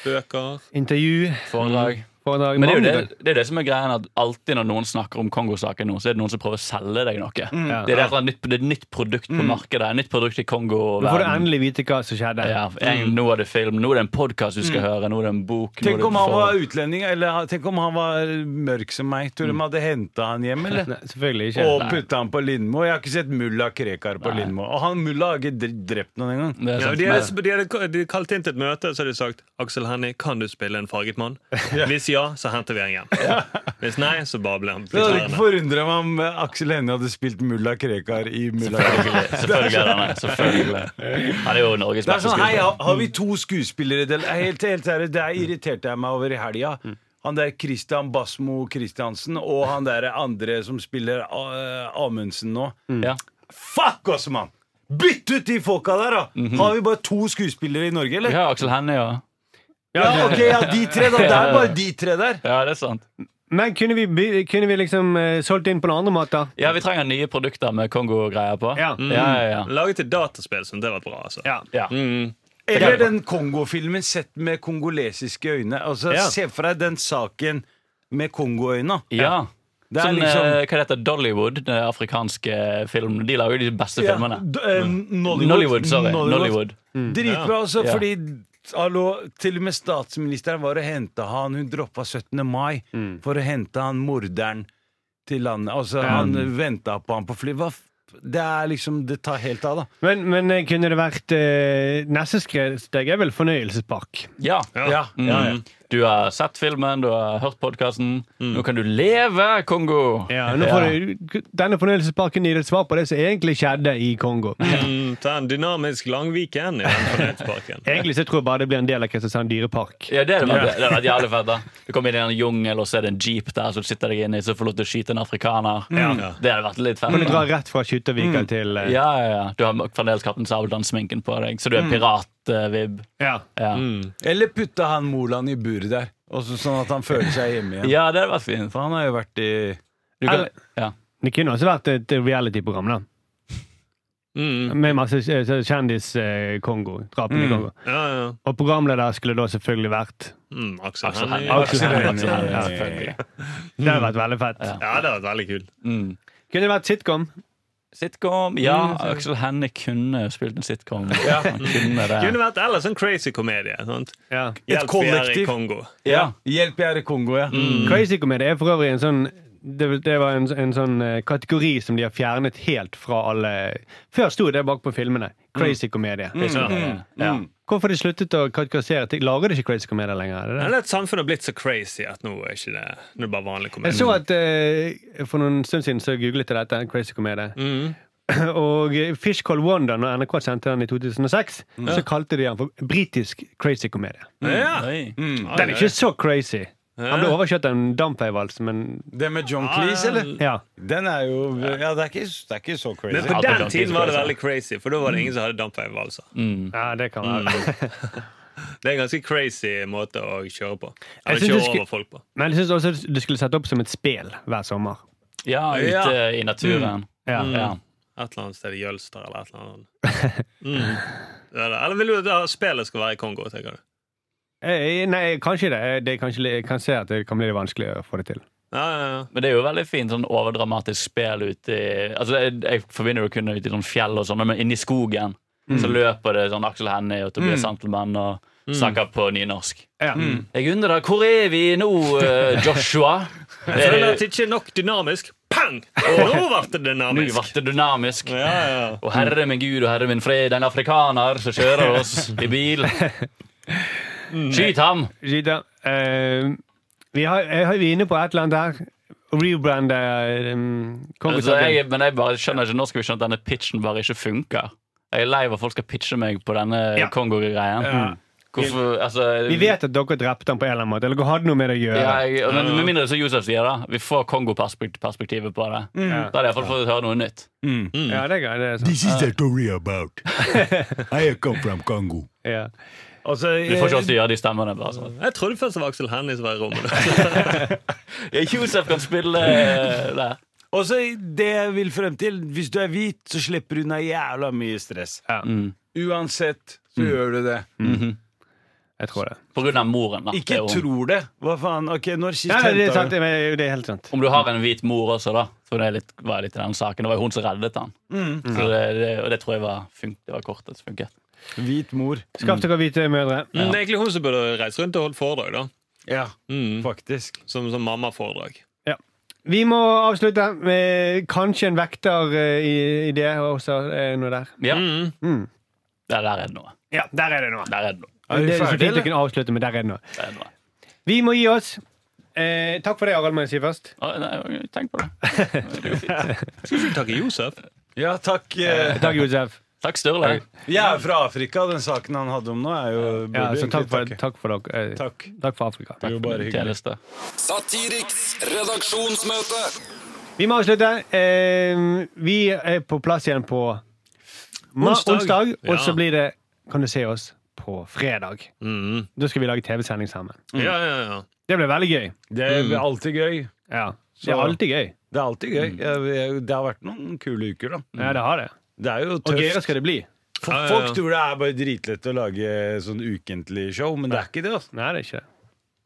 [SPEAKER 6] bøker
[SPEAKER 2] intervju,
[SPEAKER 4] Foredrag.
[SPEAKER 2] foredrag
[SPEAKER 4] Men det er jo
[SPEAKER 2] mange-
[SPEAKER 4] det, det, er det som er greien at alltid når noen snakker om Kongo-saken, nå, så er det noen som prøver å selge deg noe.
[SPEAKER 2] Mm. Ja.
[SPEAKER 4] Det er derfor et nytt, det er et nytt produkt på markedet. Et nytt produkt i
[SPEAKER 2] Nå får du
[SPEAKER 4] Kongo-verden.
[SPEAKER 2] endelig vite hva som skjedde.
[SPEAKER 4] Ja, en, nå er det film, nå er det en podkast du skal høre, nå er det en bok nå er
[SPEAKER 3] Mm. Tenk
[SPEAKER 4] det
[SPEAKER 3] om han
[SPEAKER 4] for-
[SPEAKER 3] var utlending, eller tenk om han var mørk som meg. Tror du de hadde henta han hjem, eller?
[SPEAKER 2] Nei, selvfølgelig ikke.
[SPEAKER 3] Og putta han på Lindmo. Jeg har ikke sett mulla Krekar på Lindmo. Og han mulla har ikke dre- drept noen engang.
[SPEAKER 4] Det er
[SPEAKER 6] Ja,
[SPEAKER 4] sant.
[SPEAKER 6] de, hadde, de, hadde, de hadde kalt inn til et møte så hadde de sagt Aksel Hennie, kan du spille en farget mann? Hvis ja, så henter vi han hjem. Hvis nei, så bare ble han
[SPEAKER 3] Det hadde ikke
[SPEAKER 6] flyttende.
[SPEAKER 3] forundra meg om eh, Aksel Hennie hadde spilt mulla Krekar i mulla Krekar.
[SPEAKER 4] Selvfølgelig, selvfølgelig er han det. Selvfølgelig. Han er jo Norges
[SPEAKER 3] Det er
[SPEAKER 4] beste
[SPEAKER 3] sånn, hei,
[SPEAKER 4] skuespiller.
[SPEAKER 3] har- Har vi to skuespillere til? Helt, helt ærlig, det er irriterte jeg meg over i helga. Han der Christian Basmo Christiansen og han der andre som spiller eh, Amundsen nå.
[SPEAKER 4] Ja.
[SPEAKER 3] Fuck oss, mann! Bytt ut de folka der, da! Har vi bare to skuespillere i Norge, eller?
[SPEAKER 4] Vi
[SPEAKER 3] Ja,
[SPEAKER 4] har Aksel Hennie og
[SPEAKER 3] ok, ja, de tre, da. Det er bare de tre der.
[SPEAKER 4] Ja, det er sant.
[SPEAKER 2] Men kunne vi, by- kunne vi liksom eh, solgt inn på noen andre måter?
[SPEAKER 4] Ja, vi trenger nye produkter med Kongo-greier på.
[SPEAKER 2] Ja.
[SPEAKER 4] ja, ja,
[SPEAKER 3] Mm.
[SPEAKER 4] ja.
[SPEAKER 6] Laget et dataspill som det var bra, altså.
[SPEAKER 2] Ja.
[SPEAKER 4] ja.
[SPEAKER 3] Eller den Kongo-filmen sett med kongolesiske øyne. Altså,
[SPEAKER 2] Ja.
[SPEAKER 3] Se for deg den saken med Kongo-øyna.
[SPEAKER 4] Ja.
[SPEAKER 3] Det er
[SPEAKER 4] Sånn,
[SPEAKER 3] liksom-
[SPEAKER 4] eh, Hva det heter Dollywood, den afrikanske filmen. De lager jo de beste filmene. Mm.
[SPEAKER 3] d- eh, Nollywood.
[SPEAKER 4] Nollywood, sorry. Nollywood.
[SPEAKER 3] Dritbra, altså,
[SPEAKER 4] Ja.
[SPEAKER 3] fordi Hallo, til og med statsministeren var og henta han. Hun droppa 17. mai for å hente han morderen til landet. Altså, Han venta på han på fly. Hva f- Det er liksom Det tar helt av, da.
[SPEAKER 2] Men, men eh, kunne det vært eh, Neste skre- steg er vel fornøyelsespark.
[SPEAKER 4] Ja.
[SPEAKER 3] Ja,
[SPEAKER 4] Mm.
[SPEAKER 3] ja, Mm. ja.
[SPEAKER 4] Du har sett filmen, du har hørt podkasten. Nå kan du leve, Kongo!
[SPEAKER 2] nå får du, denne fornøyelsesparken gir et svar på det som egentlig skjedde i Kongo.
[SPEAKER 6] Mm, ta en dynamisk Langviken i den fornøyelsesparken.
[SPEAKER 2] Egentlig så tror jeg bare det blir en del av Kristiansand dyrepark.
[SPEAKER 4] Ja, det hadde vært, det hadde vært jævlig fett. da Du kommer inn i en jungel, og så er det en jeep der, så du sitter deg inni, så får du lov til å skyte en afrikaner.
[SPEAKER 6] Ja.
[SPEAKER 4] Det hadde vært litt fett.
[SPEAKER 2] Kan du
[SPEAKER 4] da.
[SPEAKER 2] dra rett fra Skyttervika til eh,
[SPEAKER 4] Mm. Ja, ja, ja. Du har fremdeles Kaptein Sabeltann-sminken på deg, så du er pirat-vib.
[SPEAKER 2] ja.
[SPEAKER 4] Ja.
[SPEAKER 3] Eller putte han Moland i buret der, og så, sånn at han føler seg hjemme igjen.
[SPEAKER 4] ja, det hadde vært fint.
[SPEAKER 3] For han har jo vært i
[SPEAKER 4] Du kan,
[SPEAKER 2] Eller-
[SPEAKER 4] ja.
[SPEAKER 2] Det kunne også vært et reality-program, da.
[SPEAKER 6] Mm.
[SPEAKER 2] Med masse eh, kjendis-Kongo.
[SPEAKER 4] Mm.
[SPEAKER 2] Drapene i eh, Kongo.
[SPEAKER 6] Ja, ja.
[SPEAKER 2] Og programleder skulle da selvfølgelig vært
[SPEAKER 6] Mm, Aksel
[SPEAKER 4] Aksel
[SPEAKER 6] Hennie.
[SPEAKER 4] Hennie.
[SPEAKER 2] Aksel Hennie.
[SPEAKER 4] Aksel Hennie, selvfølgelig.
[SPEAKER 2] Det hadde vært veldig fett.
[SPEAKER 6] Ja, det hadde vært veldig kult.
[SPEAKER 4] Mm.
[SPEAKER 2] Kunne det vært sitcom?
[SPEAKER 4] Sitcom. Ja, Aksel Hennie kunne spilt en sitcom. Han kunne det.
[SPEAKER 6] Kunne vært ellers en crazy komedie. Sant?
[SPEAKER 2] Ja.
[SPEAKER 6] Hjelp vi er i
[SPEAKER 3] kollektiv.
[SPEAKER 2] Mm,
[SPEAKER 6] Kongo.
[SPEAKER 4] Ja. Mm.
[SPEAKER 3] Hjelp, jeg er i Kongo, ja.
[SPEAKER 2] Crazy komedie er for øvrig en sånn det, det var en, en sånn eh, kategori som de har fjernet helt fra alle Før sto det bak på filmene. Crazy komedie.
[SPEAKER 6] Mm.
[SPEAKER 2] mm.
[SPEAKER 4] Ja.
[SPEAKER 2] Hvorfor har de sluttet å kategorisere ting? Lager de ikke crazy komedier lenger? Er det det?
[SPEAKER 6] Eller at samfunnet har blitt så crazy at nå er ikke det, nå er det bare vanlig
[SPEAKER 2] Jeg så
[SPEAKER 6] komedie.
[SPEAKER 2] at eh, For noen stund siden så googlet jeg dette. Crazy komedie.
[SPEAKER 6] Mm.
[SPEAKER 2] Og eh, Fish Call Wonder, når NRK sendte den i 2006, så kalte de den for britisk crazy komedie.
[SPEAKER 6] Ja.
[SPEAKER 4] Oi.
[SPEAKER 2] Mm. Den er ikke så crazy. Han ble overkjørt av en dampveivals, men
[SPEAKER 3] Det med John
[SPEAKER 4] Ah,
[SPEAKER 3] Cleese, eller?
[SPEAKER 2] ja.
[SPEAKER 3] Den er jo Ja, det er ikke, det er ikke så crazy.
[SPEAKER 6] Men på
[SPEAKER 4] Alt er
[SPEAKER 6] den
[SPEAKER 4] ganske
[SPEAKER 6] tiden var det
[SPEAKER 4] crazy.
[SPEAKER 6] veldig crazy, for da var det ingen som hadde dampveivalser.
[SPEAKER 2] ja, det kan være.
[SPEAKER 6] altså. Det er en ganske crazy måte å kjøre på.
[SPEAKER 2] Jeg
[SPEAKER 6] Eller
[SPEAKER 2] synes
[SPEAKER 6] kjøre
[SPEAKER 2] du skulle-
[SPEAKER 6] over folk på.
[SPEAKER 2] Men jeg syns også du skulle sette opp som et spel hver sommer.
[SPEAKER 4] Ja,
[SPEAKER 6] Ja.
[SPEAKER 4] ute i naturen.
[SPEAKER 2] Ja.
[SPEAKER 4] Ja.
[SPEAKER 6] Et eller annet sted i Jølster eller et eller annet. Mm. Eller, eller vil du at spillet skal være i Kongo, tenker du?
[SPEAKER 2] Eh, Nei, kanskje det. Eh, det er kanskje, jeg kan se at det kan bli litt vanskelig å få det til.
[SPEAKER 6] Ja, ja, ja.
[SPEAKER 4] Men det er jo veldig fint sånn overdramatisk spel ute i Altså, jeg, jeg forbinder jo kun ute i sånn fjell og sånn, men inni skogen så løper det sånn Aksel Hennie og Tobias Santelmann og snakker på nynorsk.
[SPEAKER 2] Ja.
[SPEAKER 4] Mm. Jeg undrer deg, hvor er vi nå, eh, Joshua? Eh,
[SPEAKER 6] Jeg føler at
[SPEAKER 4] Det
[SPEAKER 6] det ikke er nok dynamisk. Pang! Nå ble det
[SPEAKER 4] nå
[SPEAKER 6] dynamisk.
[SPEAKER 4] ble det dynamisk.
[SPEAKER 6] Ja, ja.
[SPEAKER 4] Og herre min Gud og herre min fred, en afrikaner som kjører oss i bil. Skyt ham!
[SPEAKER 2] Gita, eh, vi, har, jeg har, vi er inne på et eller annet her. Rebrande eh,
[SPEAKER 4] Altså,
[SPEAKER 2] kongesaken.
[SPEAKER 4] jeg, men jeg bare skjønner ikke, nå skal vi skjønne at denne pitchen bare ikke funker. Jeg er lei av at folk skal pitche meg på denne
[SPEAKER 2] Ja.
[SPEAKER 4] Kongo-greien. Hvorfor, altså
[SPEAKER 2] Vi vet at dere drepte ham på en eller annen måte. Eller dere hadde noe med det å gjøre.
[SPEAKER 4] ja, jeg, men, Med mindre som Josef sier, da. Vi får Kongo-perspektivet på det.
[SPEAKER 2] Mm.
[SPEAKER 4] Da hadde jeg iallfall fått høre noe nytt. Mm.
[SPEAKER 2] Ja, det er greit. Det er sant.
[SPEAKER 7] This is the story about. I come from Congo.
[SPEAKER 2] Ja.
[SPEAKER 3] Altså,
[SPEAKER 4] Vi får ikke oss til å gjøre de stemmene. bare sånn
[SPEAKER 6] Jeg trodde først det var Aksel Hennie som var i rommet.
[SPEAKER 4] ja, Josef kan spille eh, der.
[SPEAKER 3] Og så det jeg vil frem til Hvis du er hvit, så slipper du unna jævla mye stress.
[SPEAKER 2] Ja.
[SPEAKER 3] Uansett så
[SPEAKER 2] Mm.
[SPEAKER 3] gjør du det.
[SPEAKER 2] Jeg tror det.
[SPEAKER 4] På grunn av moren. da
[SPEAKER 3] Ikke
[SPEAKER 4] Det er jo-
[SPEAKER 3] tror det. Hva faen? Ok, når sist
[SPEAKER 2] Ja, det, det, er
[SPEAKER 3] hentet
[SPEAKER 2] sant,
[SPEAKER 3] du-
[SPEAKER 2] men det er helt sant.
[SPEAKER 4] Om du har en hvit mor også, da. For det er litt, var litt i den saken Det var jo hun som reddet han.
[SPEAKER 2] Mm.
[SPEAKER 4] Så det, det, og det tror jeg var, fun det var kortet som funket.
[SPEAKER 3] Hvit mor.
[SPEAKER 2] Skaff dere hvite mødre.
[SPEAKER 6] Det er egentlig hun som burde reise rundt og holde foredrag, da.
[SPEAKER 3] Ja,
[SPEAKER 6] Mm.
[SPEAKER 3] faktisk.
[SPEAKER 6] Som, som mammaforedrag.
[SPEAKER 2] Ja. Vi må avslutte med kanskje en vekter eh, i, i det også. Er noe der.
[SPEAKER 4] Ja,
[SPEAKER 2] Mm.
[SPEAKER 4] der, der er det noe.
[SPEAKER 2] Ja, der er det noe.
[SPEAKER 4] Der er det noe.
[SPEAKER 2] Ja, det er så
[SPEAKER 3] ferdige,
[SPEAKER 2] fint å kunne avslutte med der er det noe.
[SPEAKER 4] Der er det noe.
[SPEAKER 2] Vi må gi oss. Eh, takk for det, Harald, må jeg si først.
[SPEAKER 4] Å, nei, tenk på det.
[SPEAKER 6] Skal ikke du takke Josef?
[SPEAKER 3] Ja, takk. eh,
[SPEAKER 2] Takk, Josef.
[SPEAKER 4] Takk, Sturle.
[SPEAKER 3] Jeg er fra Afrika. Den saken han hadde om nå, er jo
[SPEAKER 2] Ja,
[SPEAKER 3] burde
[SPEAKER 2] så
[SPEAKER 3] egentlig
[SPEAKER 2] takk for,
[SPEAKER 3] takke.
[SPEAKER 2] takk for dere. eh,
[SPEAKER 3] Takk.
[SPEAKER 2] Takk for Afrika.
[SPEAKER 3] Jo, bare hyggelig.
[SPEAKER 4] Tjeneste.
[SPEAKER 5] Satiriks redaksjonsmøte.
[SPEAKER 2] Vi må avslutte. Eh, vi er på plass igjen på onsdag,
[SPEAKER 6] Onsdag.
[SPEAKER 2] onsdag og
[SPEAKER 6] Ja.
[SPEAKER 2] så blir det Kan du se oss på fredag?
[SPEAKER 3] Mm.
[SPEAKER 2] Da skal vi lage TV-sending sammen.
[SPEAKER 6] Ja, ja, ja.
[SPEAKER 2] Det blir veldig gøy.
[SPEAKER 3] Det
[SPEAKER 2] Mm.
[SPEAKER 3] er alltid gøy.
[SPEAKER 2] Ja. Det er
[SPEAKER 3] Så-
[SPEAKER 2] alltid gøy.
[SPEAKER 3] Det er alltid gøy. Jeg- jeg- Det har vært noen kule uker, da.
[SPEAKER 2] Mm. Ja, det har det.
[SPEAKER 3] Det er jo
[SPEAKER 2] Og gøyere
[SPEAKER 3] tøft.
[SPEAKER 2] skal det bli.
[SPEAKER 3] For
[SPEAKER 6] Ja, ja, ja.
[SPEAKER 3] Folk tror det er bare dritlett å lage sånn ukentlig show, men det er ikke det. altså
[SPEAKER 2] Nei, det er ikke det.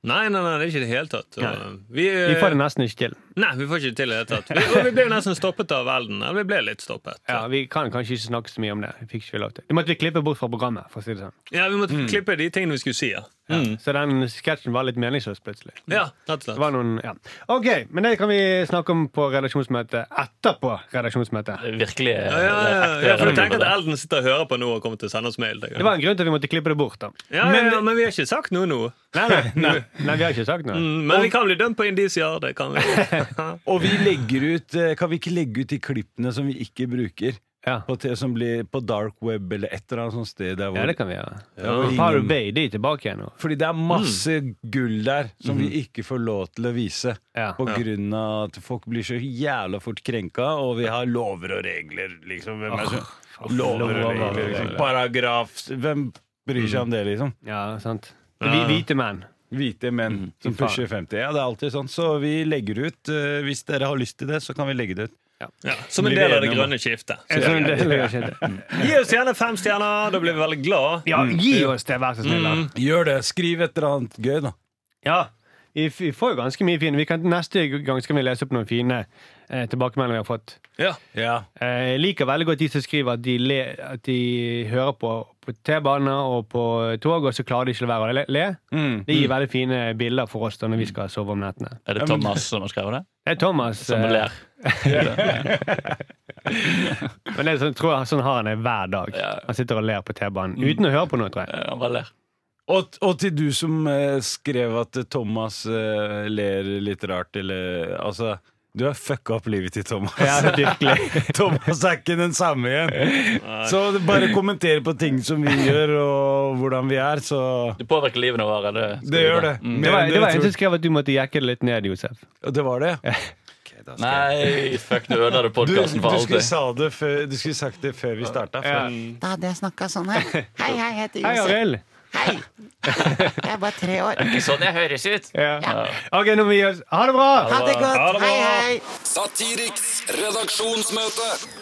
[SPEAKER 6] Nei, nei, nei, det er ikke i det hele tatt. Og, vi, eh,
[SPEAKER 2] Vi får det nesten ikke til.
[SPEAKER 6] Nei, vi får ikke det til i det hele tatt. Vi, og vi ble nesten stoppet av elden. Eller vi ble litt stoppet.
[SPEAKER 2] Ja, vi kan kanskje ikke snakke så mye om det. Vi fikk ikke lov til. Det måtte vi klippe bort fra programmet. for å si det sånn.
[SPEAKER 6] Ja, Vi måtte klippe de tingene vi skulle si. Ja,
[SPEAKER 2] Ja. Så den sketsjen var litt meningsløs plutselig.
[SPEAKER 6] ja rett og
[SPEAKER 2] Det
[SPEAKER 6] slett.
[SPEAKER 2] var noen, ja. Ok, men det kan vi snakke om på redaksjonsmøtet etterpå redaksjonsmøtet.
[SPEAKER 4] Virkelig. eh,
[SPEAKER 6] Ja, ja, ja, ja, for du
[SPEAKER 4] det,
[SPEAKER 6] tenker at elden sitter og hører på nå og kommer til å sende oss mail? tenker jeg.
[SPEAKER 2] Det var en grunn til at vi måtte klippe det bort. da.
[SPEAKER 6] Ja, ja, ja, men vi har ikke sagt noe nå.
[SPEAKER 2] Nei, nei, nei. nei vi har ikke sagt noe.
[SPEAKER 6] Mm, Men vi kan bli dømt på indisier. Det kan vi.
[SPEAKER 3] Og vi legger ut eh, Kan vi ikke legge ut de klippene som vi ikke bruker?
[SPEAKER 2] Ja.
[SPEAKER 3] På, te- som blir på dark web eller et eller annet sånt sted. Der hvor,
[SPEAKER 2] Ja, det kan vi gjøre.
[SPEAKER 3] Ja.
[SPEAKER 2] Pirate Bay de er tilbake igjen nå.
[SPEAKER 3] Fordi det er masse gull der som vi ikke får lov til å
[SPEAKER 2] Mm.
[SPEAKER 3] vise.
[SPEAKER 2] Mhm. Ja.
[SPEAKER 3] På grunn av at folk blir så jævla fort krenka, og vi har lover og regler, liksom. Hvem er det som Lover og regler, liksom. Paragraf Hvem bryr
[SPEAKER 2] Mm.
[SPEAKER 3] seg om det, liksom?
[SPEAKER 2] Ja, sant. Vi hvite menn.
[SPEAKER 3] Hvite menn som
[SPEAKER 2] Mm. Fy faen.
[SPEAKER 3] pusher 50. Ja, det er alltid sånn. Så vi legger ut eh, Hvis dere har lyst til det, så kan vi legge det ut.
[SPEAKER 6] Ja, som en
[SPEAKER 3] Blir
[SPEAKER 6] del
[SPEAKER 3] vi
[SPEAKER 6] av det
[SPEAKER 3] enige om
[SPEAKER 6] grønne skiftet.
[SPEAKER 2] En sånn del av skjedde.
[SPEAKER 6] Gi oss gjerne fem stjerner, da blir vi veldig glad.
[SPEAKER 2] Ja, gi oss det, vær så snill. da.
[SPEAKER 3] Gjør det. Skriv et eller annet gøy, da.
[SPEAKER 2] Ja. Vi, f- vi får jo ganske mye fine. Vi kan, neste gang skal vi lese opp noen fine eh, tilbakemeldinger vi har fått.
[SPEAKER 6] Ja.
[SPEAKER 3] Ja.
[SPEAKER 2] Eh, Jeg liker veldig godt de som skriver at de, le, at de hører på på T-baner og på tog, og så klarer de ikke å være å le. le. Det gir veldig fine bilder for oss da når vi skal sove om nettene.
[SPEAKER 4] Er det Thomas som har skrevet det?
[SPEAKER 2] Det er Thomas.
[SPEAKER 4] Som
[SPEAKER 2] eh,
[SPEAKER 4] ler?
[SPEAKER 2] Men det er sånn, tror jeg sånn har han det hver dag.
[SPEAKER 4] Ja.
[SPEAKER 2] Han sitter og ler på T-banen uten å høre på noe, tror jeg.
[SPEAKER 4] Ja, Han bare ler.
[SPEAKER 3] Og, og til du som eh, skrev at eh, Thomas eh, ler litt rart, eller Altså, du har fucka opp livet til Thomas.
[SPEAKER 2] Ja, virkelig.
[SPEAKER 3] Thomas er ikke den samme igjen. Så bare kommenter på ting som vi gjør, og hvordan vi er, så
[SPEAKER 4] Du påvirker livene våre. Det, skal
[SPEAKER 3] Det
[SPEAKER 4] vi
[SPEAKER 3] gjør
[SPEAKER 4] ta.
[SPEAKER 3] det.
[SPEAKER 4] Mm.
[SPEAKER 2] Det var,
[SPEAKER 3] Men
[SPEAKER 2] det var en
[SPEAKER 3] tror-
[SPEAKER 2] som skrev at du måtte jekke det litt ned, Josef.
[SPEAKER 3] Og Det var det? ja.
[SPEAKER 4] Nei, fuck, nå ødela du
[SPEAKER 3] Du, du,
[SPEAKER 4] podkasten for
[SPEAKER 3] skulle
[SPEAKER 4] alltid.
[SPEAKER 3] sa det før, du skulle sagt det før vi starta. for-
[SPEAKER 8] Da hadde jeg snakka sånn her. Hei, hei, jeg heter
[SPEAKER 2] Hei,
[SPEAKER 8] Josef.
[SPEAKER 2] Arild!
[SPEAKER 8] Hei. Jeg er bare tre år.
[SPEAKER 4] Sånn jeg høres ut.
[SPEAKER 2] Ja. Ok, nå må vi gi oss. Ha det bra!
[SPEAKER 8] Ha det godt. Hei, hei.
[SPEAKER 5] Satiriks redaksjonsmøte.